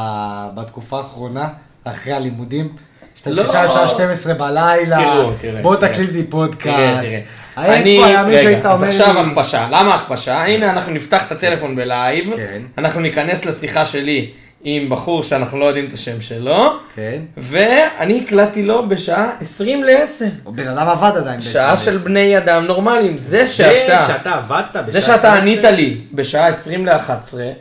A: בתקופה האחרונה, אחרי הלימודים? שאתה
B: לא.
A: מתקשר בשעה 12 בלילה,
B: תראו, תראה,
A: בוא
B: תראה.
A: תקליט לי
B: תראה,
A: פודקאסט.
B: תראה.
A: האם
B: אני-
A: פה היה מישהו
B: רגע,
A: שהיית אומר לי...
B: אז עכשיו הכפשה. למה הכפשה? הנה, אנחנו נפתח את הטלפון בלייב,
A: כן.
B: אנחנו ניכנס לשיחה שלי עם בחור שאנחנו לא יודעים את השם שלו,
A: כן.
B: ואני הקלטתי לו בשעה 20 ל-10.
A: בן אדם עבד עדיין ב-20.
B: שעה של בני אדם נורמליים, זה
C: זה
B: שאתה,
C: שאתה עבדת
B: זה
C: בשעה
B: שאתה
C: 11,
B: ענית לי בשעה 20 ל-11,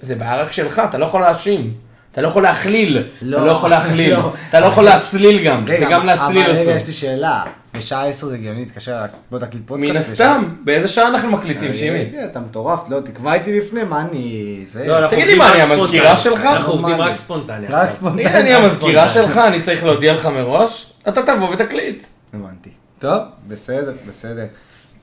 B: זה בעיה רק שלך, אתה לא יכול להאשים. אתה לא יכול להכליל,
A: לא,
B: אתה לא יכול להכליל,
A: לא.
B: אתה לא יכול להסליל גם,
A: רגע,
B: זה גם
A: אבל-
B: להסליל
A: אבל רגע, יש
B: אסור.
A: לי שאלה. בשעה 10 זה הגיוני להתקשר, בוא תקליט פודקאסט.
B: מן
A: בשעה
B: הסתם, באיזה שעה אנחנו מקליטים,
A: 10?
B: שימי?
A: אה, אתה מטורף, לא, תקבע איתי לפני, מה אני... זה...
C: לא, אנחנו
B: תגיד לי,
C: עובדים
B: מה, אני
C: רק
B: המזכירה
C: ספונטני.
B: שלך?
C: אנחנו עובדים
A: נורמלי.
C: רק אוקיי. ספונטני.
A: לא רק
C: עכשיו.
A: ספונטני.
B: תגיד, אני
A: אה,
B: המזכירה
C: ספונטני.
B: שלך, אני צריך להודיע לך מראש, אתה תבוא ותקליט.
A: הבנתי. טוב, בסדר, בסדר.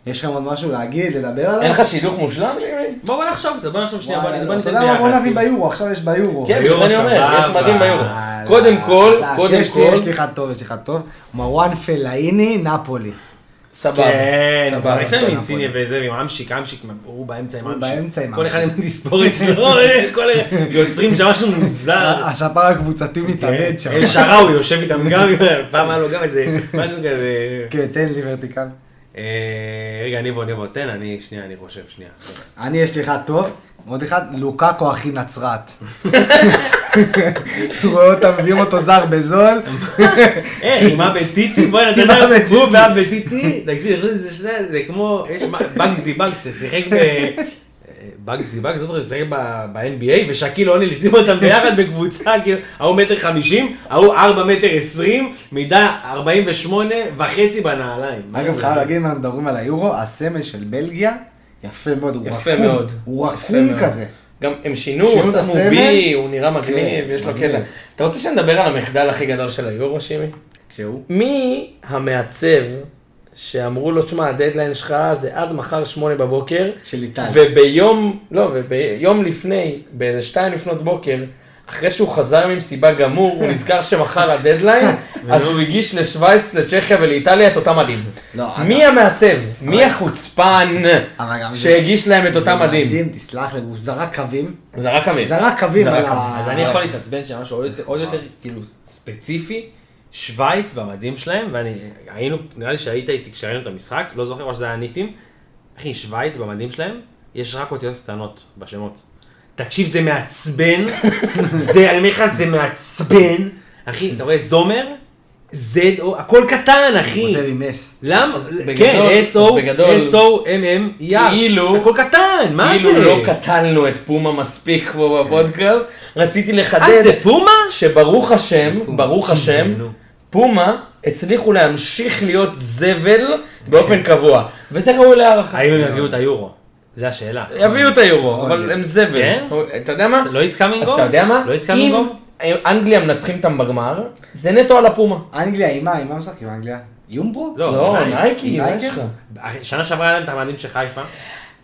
A: יש לכם עוד משהו להגיד, לדבר עליו?
B: אין לך שידוך מושלם, שימי?
C: בוא בוא נחשוב על זה, בוא נחשוב שנייה, בוא
A: וואי, לא,
C: ניתן ביחד. כאילו.
A: אתה יודע מה, בוא נביא ביורו, עכשיו יש ביורו. אה,
B: כן,
C: ביורו
B: זה אני אומר, יש
C: סבבה.
B: מדהים ביורו.
A: וואלה,
B: קודם כל,
A: חזק.
B: קודם
A: יש לי-
B: כל,
A: יש לי אחד טוב, יש לי אחד טוב. מרואן פלאיני, נפולי.
B: סבבה.
C: כן,
B: סבבה.
C: משחק שם
A: טוב,
C: עם
A: נכון.
C: סיני וזה, ועם אמשיק, אמשיק, הוא באמצע עם
A: הוא
C: אמשיק.
A: באמצע עם
C: כל אחד עם
A: אמשיק.
C: התספורת שלו, אה, כל ה- יוצרים שם משהו מוזר.
B: אה.
A: הספר הקבוצתי
C: כן,
A: מתאבד שם.
C: אל שראוי יושב איתם גם, פעם היה לו גם איזה משהו כזה.
A: כן, תן לי ורטיקל.
C: אה, רגע, ניבו, ניבו, תן, אני, שנייה, אני חושב, שנייה.
A: אני, יש לי אחד טוב, עוד אחד, לוקאקו אחי נצרת. רואה אותם, מביאים אותו זר בזול.
C: אה, רימה בטיטי, בוא'נה, אתה
A: רימה
C: יודע,
A: בטיטי.
C: הוא ואה בטיטי, תקשיב, אני חושב שזה שני- זה כמו, יש מה- בגזי בג ששיחק ב... בגזי בג, לא זוכר, ששיחק ב- ב-NBA, ושקיל עוני, לשים אותם ביחד בקבוצה, כאילו, ההוא מטר חמישים, ההוא ארבע מטר עשרים, מידה ארבעים ושמונה וחצי בנעליים.
B: אה.
A: אגב, חייב להגיד, אם אנחנו מדברים על היורו, הסמל של בלגיה, יפה מאוד, הוא
B: יפה
A: רקום,
B: מאוד.
A: הוא
B: יפה
A: רקום
B: מאוד.
A: כזה.
B: גם הם שינו,
A: שינו את
B: שמו
A: הסמל?
B: בי, הוא נראה מגניב,
A: כן,
B: יש לו
A: מגניב.
B: קטע. אתה רוצה שנדבר על המחדל הכי גדול של היורו, שימי?
A: שהוא?
B: מי המעצב שאמרו לו, תשמע, הדדליין שלך זה עד מחר שמונה בבוקר,
A: של איטליה.
B: וביום, לא, וביום לפני, באיזה שתיים לפנות בוקר, אחרי שהוא חזר ממסיבה גמור, הוא נזכר שמחר הדדליין, אז הוא הגיש לשוויץ, לצ'כיה ולאיטליה את אותם מדים.
A: לא, אגב.
B: מי המעצב? מי החוצפן
A: אבל גם זה-
B: שהגיש להם את אותם מדים?
A: מדהים, תסלח לי, הוא זרק קווים.
B: זה רק אביב.
A: זרק קווים
B: זרק
A: על
B: קווים.
A: ה...
C: אז אני יכול להתעצבן שמשהו עוד יותר- עוד יותר כאילו ספציפי, שווייץ במדים שלהם, ואני, היינו, נראה לי שהיית איתי כשראינו את המשחק, לא זוכר או שזה היה ניטים, אחי, שווייץ במדים שלהם, יש רק אותיות קטנות בשמות. תקשיב, זה מעצבן, זה, אני אומר לך, זה מעצבן, אחי, אתה רואה, זומר, Z, O, הכל קטן, אחי.
A: כותב עם אס.
C: למה?
B: בגדול-
C: כן,
B: אז
C: SO,
B: בגדול-
C: SO, MM, ER,
B: כאילו-
C: הכל קטן, מה זה? אה,
B: כאילו לא קטלנו את פומה מספיק פה בפודקאסט, רציתי
C: אה,
B: לחדד
C: זה פומה?
B: שברוך השם, ברוך השם,
C: נו.
B: פומה הצליחו להמשיך להיות זבל
C: כן.
B: באופן קבוע, וזה ראוי להערכה.
C: האם הם יביאו את היורו? זו השאלה.
B: יביאו את היורו, אבל
A: להיות.
B: הם זבל.
C: נכון. כן?
B: אתה יודע מה?
C: לא יצא
B: אז
C: מינגום?
B: אתה יודע מה?
C: לא יצא
B: אם
C: מינגום?
B: אנגליה מנצחים אותם בגמר, זה נטו על הפומה.
A: אנגליה, עם מה? עם מה משחקים אנגליה? יומברו?
C: לא,
B: לא,
C: אולי.
B: נייקי, מה
A: נייקי?
B: יש לך?
C: אחי, שנה שעברה היה להם את המאדים של חיפה.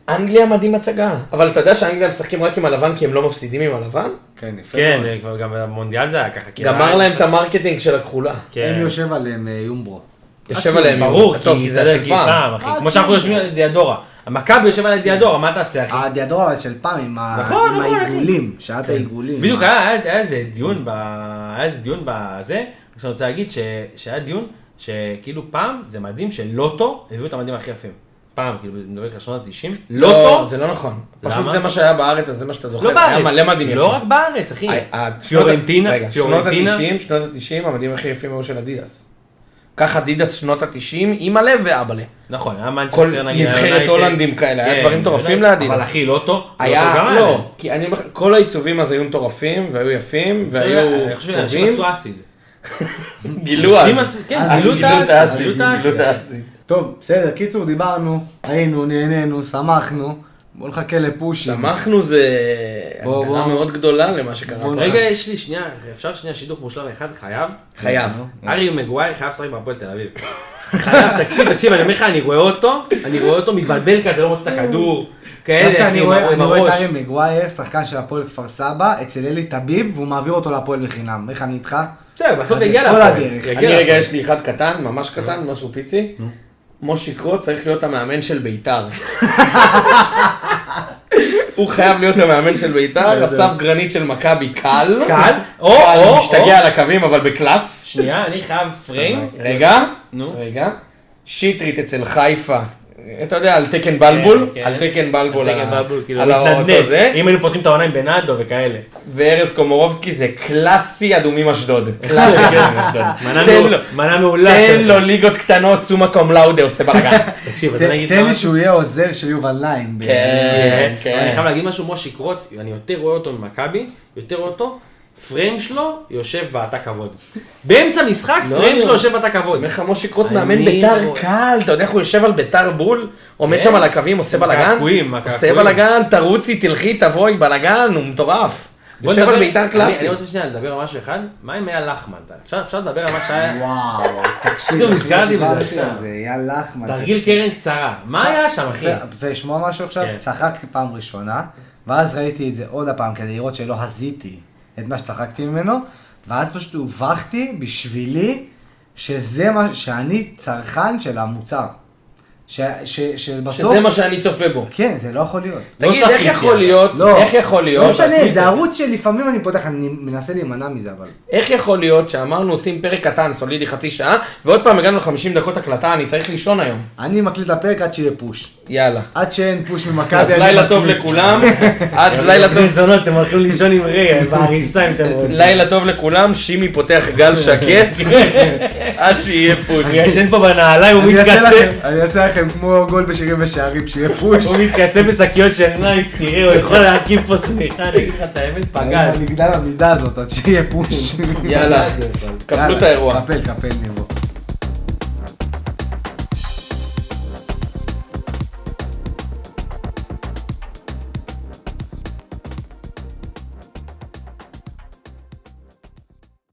B: אנגליה מדהים הצגה, אבל אתה יודע שאנגליה משחקים רק עם הלבן כי הם לא מפסידים עם הלבן?
A: כן, יפה. מאוד.
C: כן, כבר גם במונדיאל אה, זה היה ככה. כי
B: גמר
C: היה-
B: להם את המרקטינג של הכחולה.
C: כן. אה,
A: הם יושב עליהם אה, יומברו.
B: יושב עליהם.
C: ברור,
B: טוב,
C: כי
B: זה
C: זה
B: של
C: כי
B: פעם. כן.
C: פעם, אחי.
A: אה,
C: כמו שאנחנו
A: כן.
C: יושבים על דיאדורה. המכבי יושב על דיאדורה, מה תעשה, אחי?
A: הדיאדורה של פעם עם ה-
C: כן. נכון,
A: עם
C: נכון,
A: העיגולים, שעת העיגולים.
C: בדיוק אה, היה היה- היה איזה דיון ב... היה איזה דיון בזה, רק שאני רוצה להגיד ש- שהיה דיון שכאילו פעם זה מדהים שלוטו הביאו את המדים הכי יפים. פעם, כאילו, אני מדבר איתך שנות ה-90,
B: לא,
C: לוטו,
B: זה לא נכון. פשוט
C: למה?
B: זה מה שהיה בארץ, אז זה מה שאתה זוכר.
C: לא
B: היה
C: בארץ,
B: מלא מדים יפים.
C: לא רק בארץ, אחי.
B: ה- ה-
C: פיורנטינה,
B: רגע, שנות
C: פיורנטינה.
B: ה-90, שנות ה-90, המדים הכי יפים היו של אדידס. קח אדידס שנות ה-90, אימא'לה ואבאלה.
C: נכון, היה
B: כל
C: מנצ'סטר נגיד, היה
B: נבחרת
C: יונייטד.
B: הולנדים כאלה, היה
C: כן,
B: דברים מטורפים
C: יונייטד.
B: לאדידס.
C: אבל אחי, לא לוטו, לוטו
B: היה,
C: גם
B: לא,
C: להם.
B: כי אני, אומר לך, כל העיצובים אז היו מטורפים, והיו יפים, והיו
C: לא, אני חושב שאנשים
B: טובים.
C: עשו אסיד.
B: גילו אז.
C: אנשים עשו- כן,
A: אז
C: גילו את
A: גילו את
C: האסיד.
A: האסיד,
C: גילו את האסיד.
A: טוב, בסדר, קיצור, דיברנו, היינו, נהנינו, שמחנו. בוא נחכה לפושים.
B: שמחנו זה
A: בוא,
B: הגדרה
A: בוא.
B: מאוד גדולה למה שקרה
A: בוא
B: פה.
C: רגע, יש לי שנייה, אפשר שנייה שידוך מושלם אחד? חייב.
B: חייב.
C: ארי מגווייר חייב לשחק בהפועל תל אביב. חייב, תקשיב, תקשיב, אני אומר לך, אני רואה אותו, אני רואה אותו מתבלבל כזה, לא מוצא את הכדור,
A: דווקא
C: כאלה,
A: אני
C: אחי,
A: רואה
C: עם
A: אני רואה את
C: הראש.
A: אריה מגווייר, שחקן של הפועל כפר סבא, אצל אלי טביב, והוא מעביר אותו להפועל בחינם. איך אני איתך?
C: בסדר, בסוף
A: אז
C: זה יגיע
A: כל
C: להפועל.
A: הדרך.
C: יגיע
B: אני רגע,
C: להפועל.
B: יש לי אחד קטן, ממש קטן, משהו פיצי. מושי קרוט צריך להיות המאמן של בית"ר. הוא חייב להיות המאמן של בית"ר, אסף גרנית של מכבי קל.
C: קל, או,
B: קל,
C: או,
B: משתגע
C: או.
B: על הקווים, אבל בקלאס.
C: שנייה, אני חייב פריים.
B: רגע,
C: נו.
B: רגע. שטרית אצל חיפה, אתה יודע, על תקן בלבול,
C: כן, כן.
B: על תקן בלבול,
C: על תקן
B: ה-
C: בלבול, כאילו,
B: על
C: מתנדנד.
B: האוטו זה,
C: אם היינו פותחים את העונה עם בנאדו וכאלה.
B: וארז קומורובסקי זה קלאסי אדומים אשדוד.
C: זה כן, אשדוד. מנה
B: תן
C: מעול-
B: לו.
C: מנה מעולה
B: תן
C: שלך.
B: לו ליגות קטנות, סומה קום לאודה עושה בלאגן.
C: תקשיב, אז אני
A: ת-
C: אגיד
A: תן
C: לך
A: לי
C: משהו.
A: שהוא יהיה עוזר של יובל ליין. ב-
B: כן,
C: אבל אני חייב
B: כן.
C: להגיד משהו, מושי קרוט, אני יותר רואה אותו ממכבי, יותר רואה אותו, פריים שלו יושב בתא כבוד. באמצע משחק,
B: לא,
C: פריים
B: לא.
C: שלו יושב בתא כבוד.
B: אומר לך משה קרוט
C: אני
B: מאמן ביתר
C: רואה.
B: קל, אתה יודע איך הוא יושב על ביתר בול, עומד
C: oh. כן.
B: שם על הקווים, עושה
C: עם
B: בלאגן,
C: הקעקועים,
B: עושה
C: הקעקועים.
B: בלאגן, תרוצי, תלכי, תבואי, בלאגן, הוא מטורף.
C: בוא
B: יושב
C: נדבר-
B: על ביתר
C: אני-
B: קלאסי.
C: אני רוצה שנייה לדבר על משהו אחד, מה עם אייל לחמן? אפשר אפשר לדבר על מה שהיה?
A: וואו, תקשיב.
C: פתאום נזכרתי בזה
A: דיברתי
C: עכשיו.
A: על זה, יא לחמן.
C: תרגיל קרן קצרה, מה היה שם אחי?
A: רוצה- את רוצה לשמוע משהו עכשיו?
C: כן.
A: צחקתי פעם ראשונה, ואז ראיתי את זה עוד הפעם כדי לראות שלא הזיתי את מה שצחקתי ממנו, ואז פשוט הובכתי בשבילי שזה מה שאני צרכן של המוצר. ש- ש- שבסוף...
D: שזה מה שאני צופה בו.
A: כן, זה לא יכול להיות.
B: תגיד,
C: צפיתי,
B: איך יכול
C: אבל.
B: להיות,
A: לא.
B: איך יכול להיות,
A: לא משנה,
B: הטוויטר,
A: זה ערוץ שלפעמים אני פותח, אני מנסה להימנע מזה, אבל...
B: איך יכול להיות שאמרנו עושים פרק קטן, סולידי חצי שעה, ועוד פעם הגענו ל-50 דקות הקלטה, אני צריך לישון היום.
A: אני מקליט לפרק עד שיהיה פוש.
B: יאללה.
A: עד שאין פוש ממכבי,
B: אז
A: אני
B: לילה טוב
A: מקליט.
B: לכולם, עד לילה טוב.
C: מזונות, אתם הולכים לישון עם ריי, אה, בעריסה אם אתם רוצים.
B: לילה טוב לכולם, שימי פותח גל שקט, עד שיהיה פוש.
C: הוא ישן פה בנעליים, הוא
A: אני אעשה
C: מתכסה.
A: לכם- אני אעשה לכם כמו גול בשירים ושערים, שיהיה פוש.
C: הוא מתכסה בשקיות של נייק, תראה, הוא יכול להרכיב פה סליחה, אני אגיד לך את האמת,
A: אני
C: פגז.
A: נגדל המידה הזאת, עד שיהיה פוש.
B: יאללה, קפלו את האירוע.
A: קפל, קפל, נראה.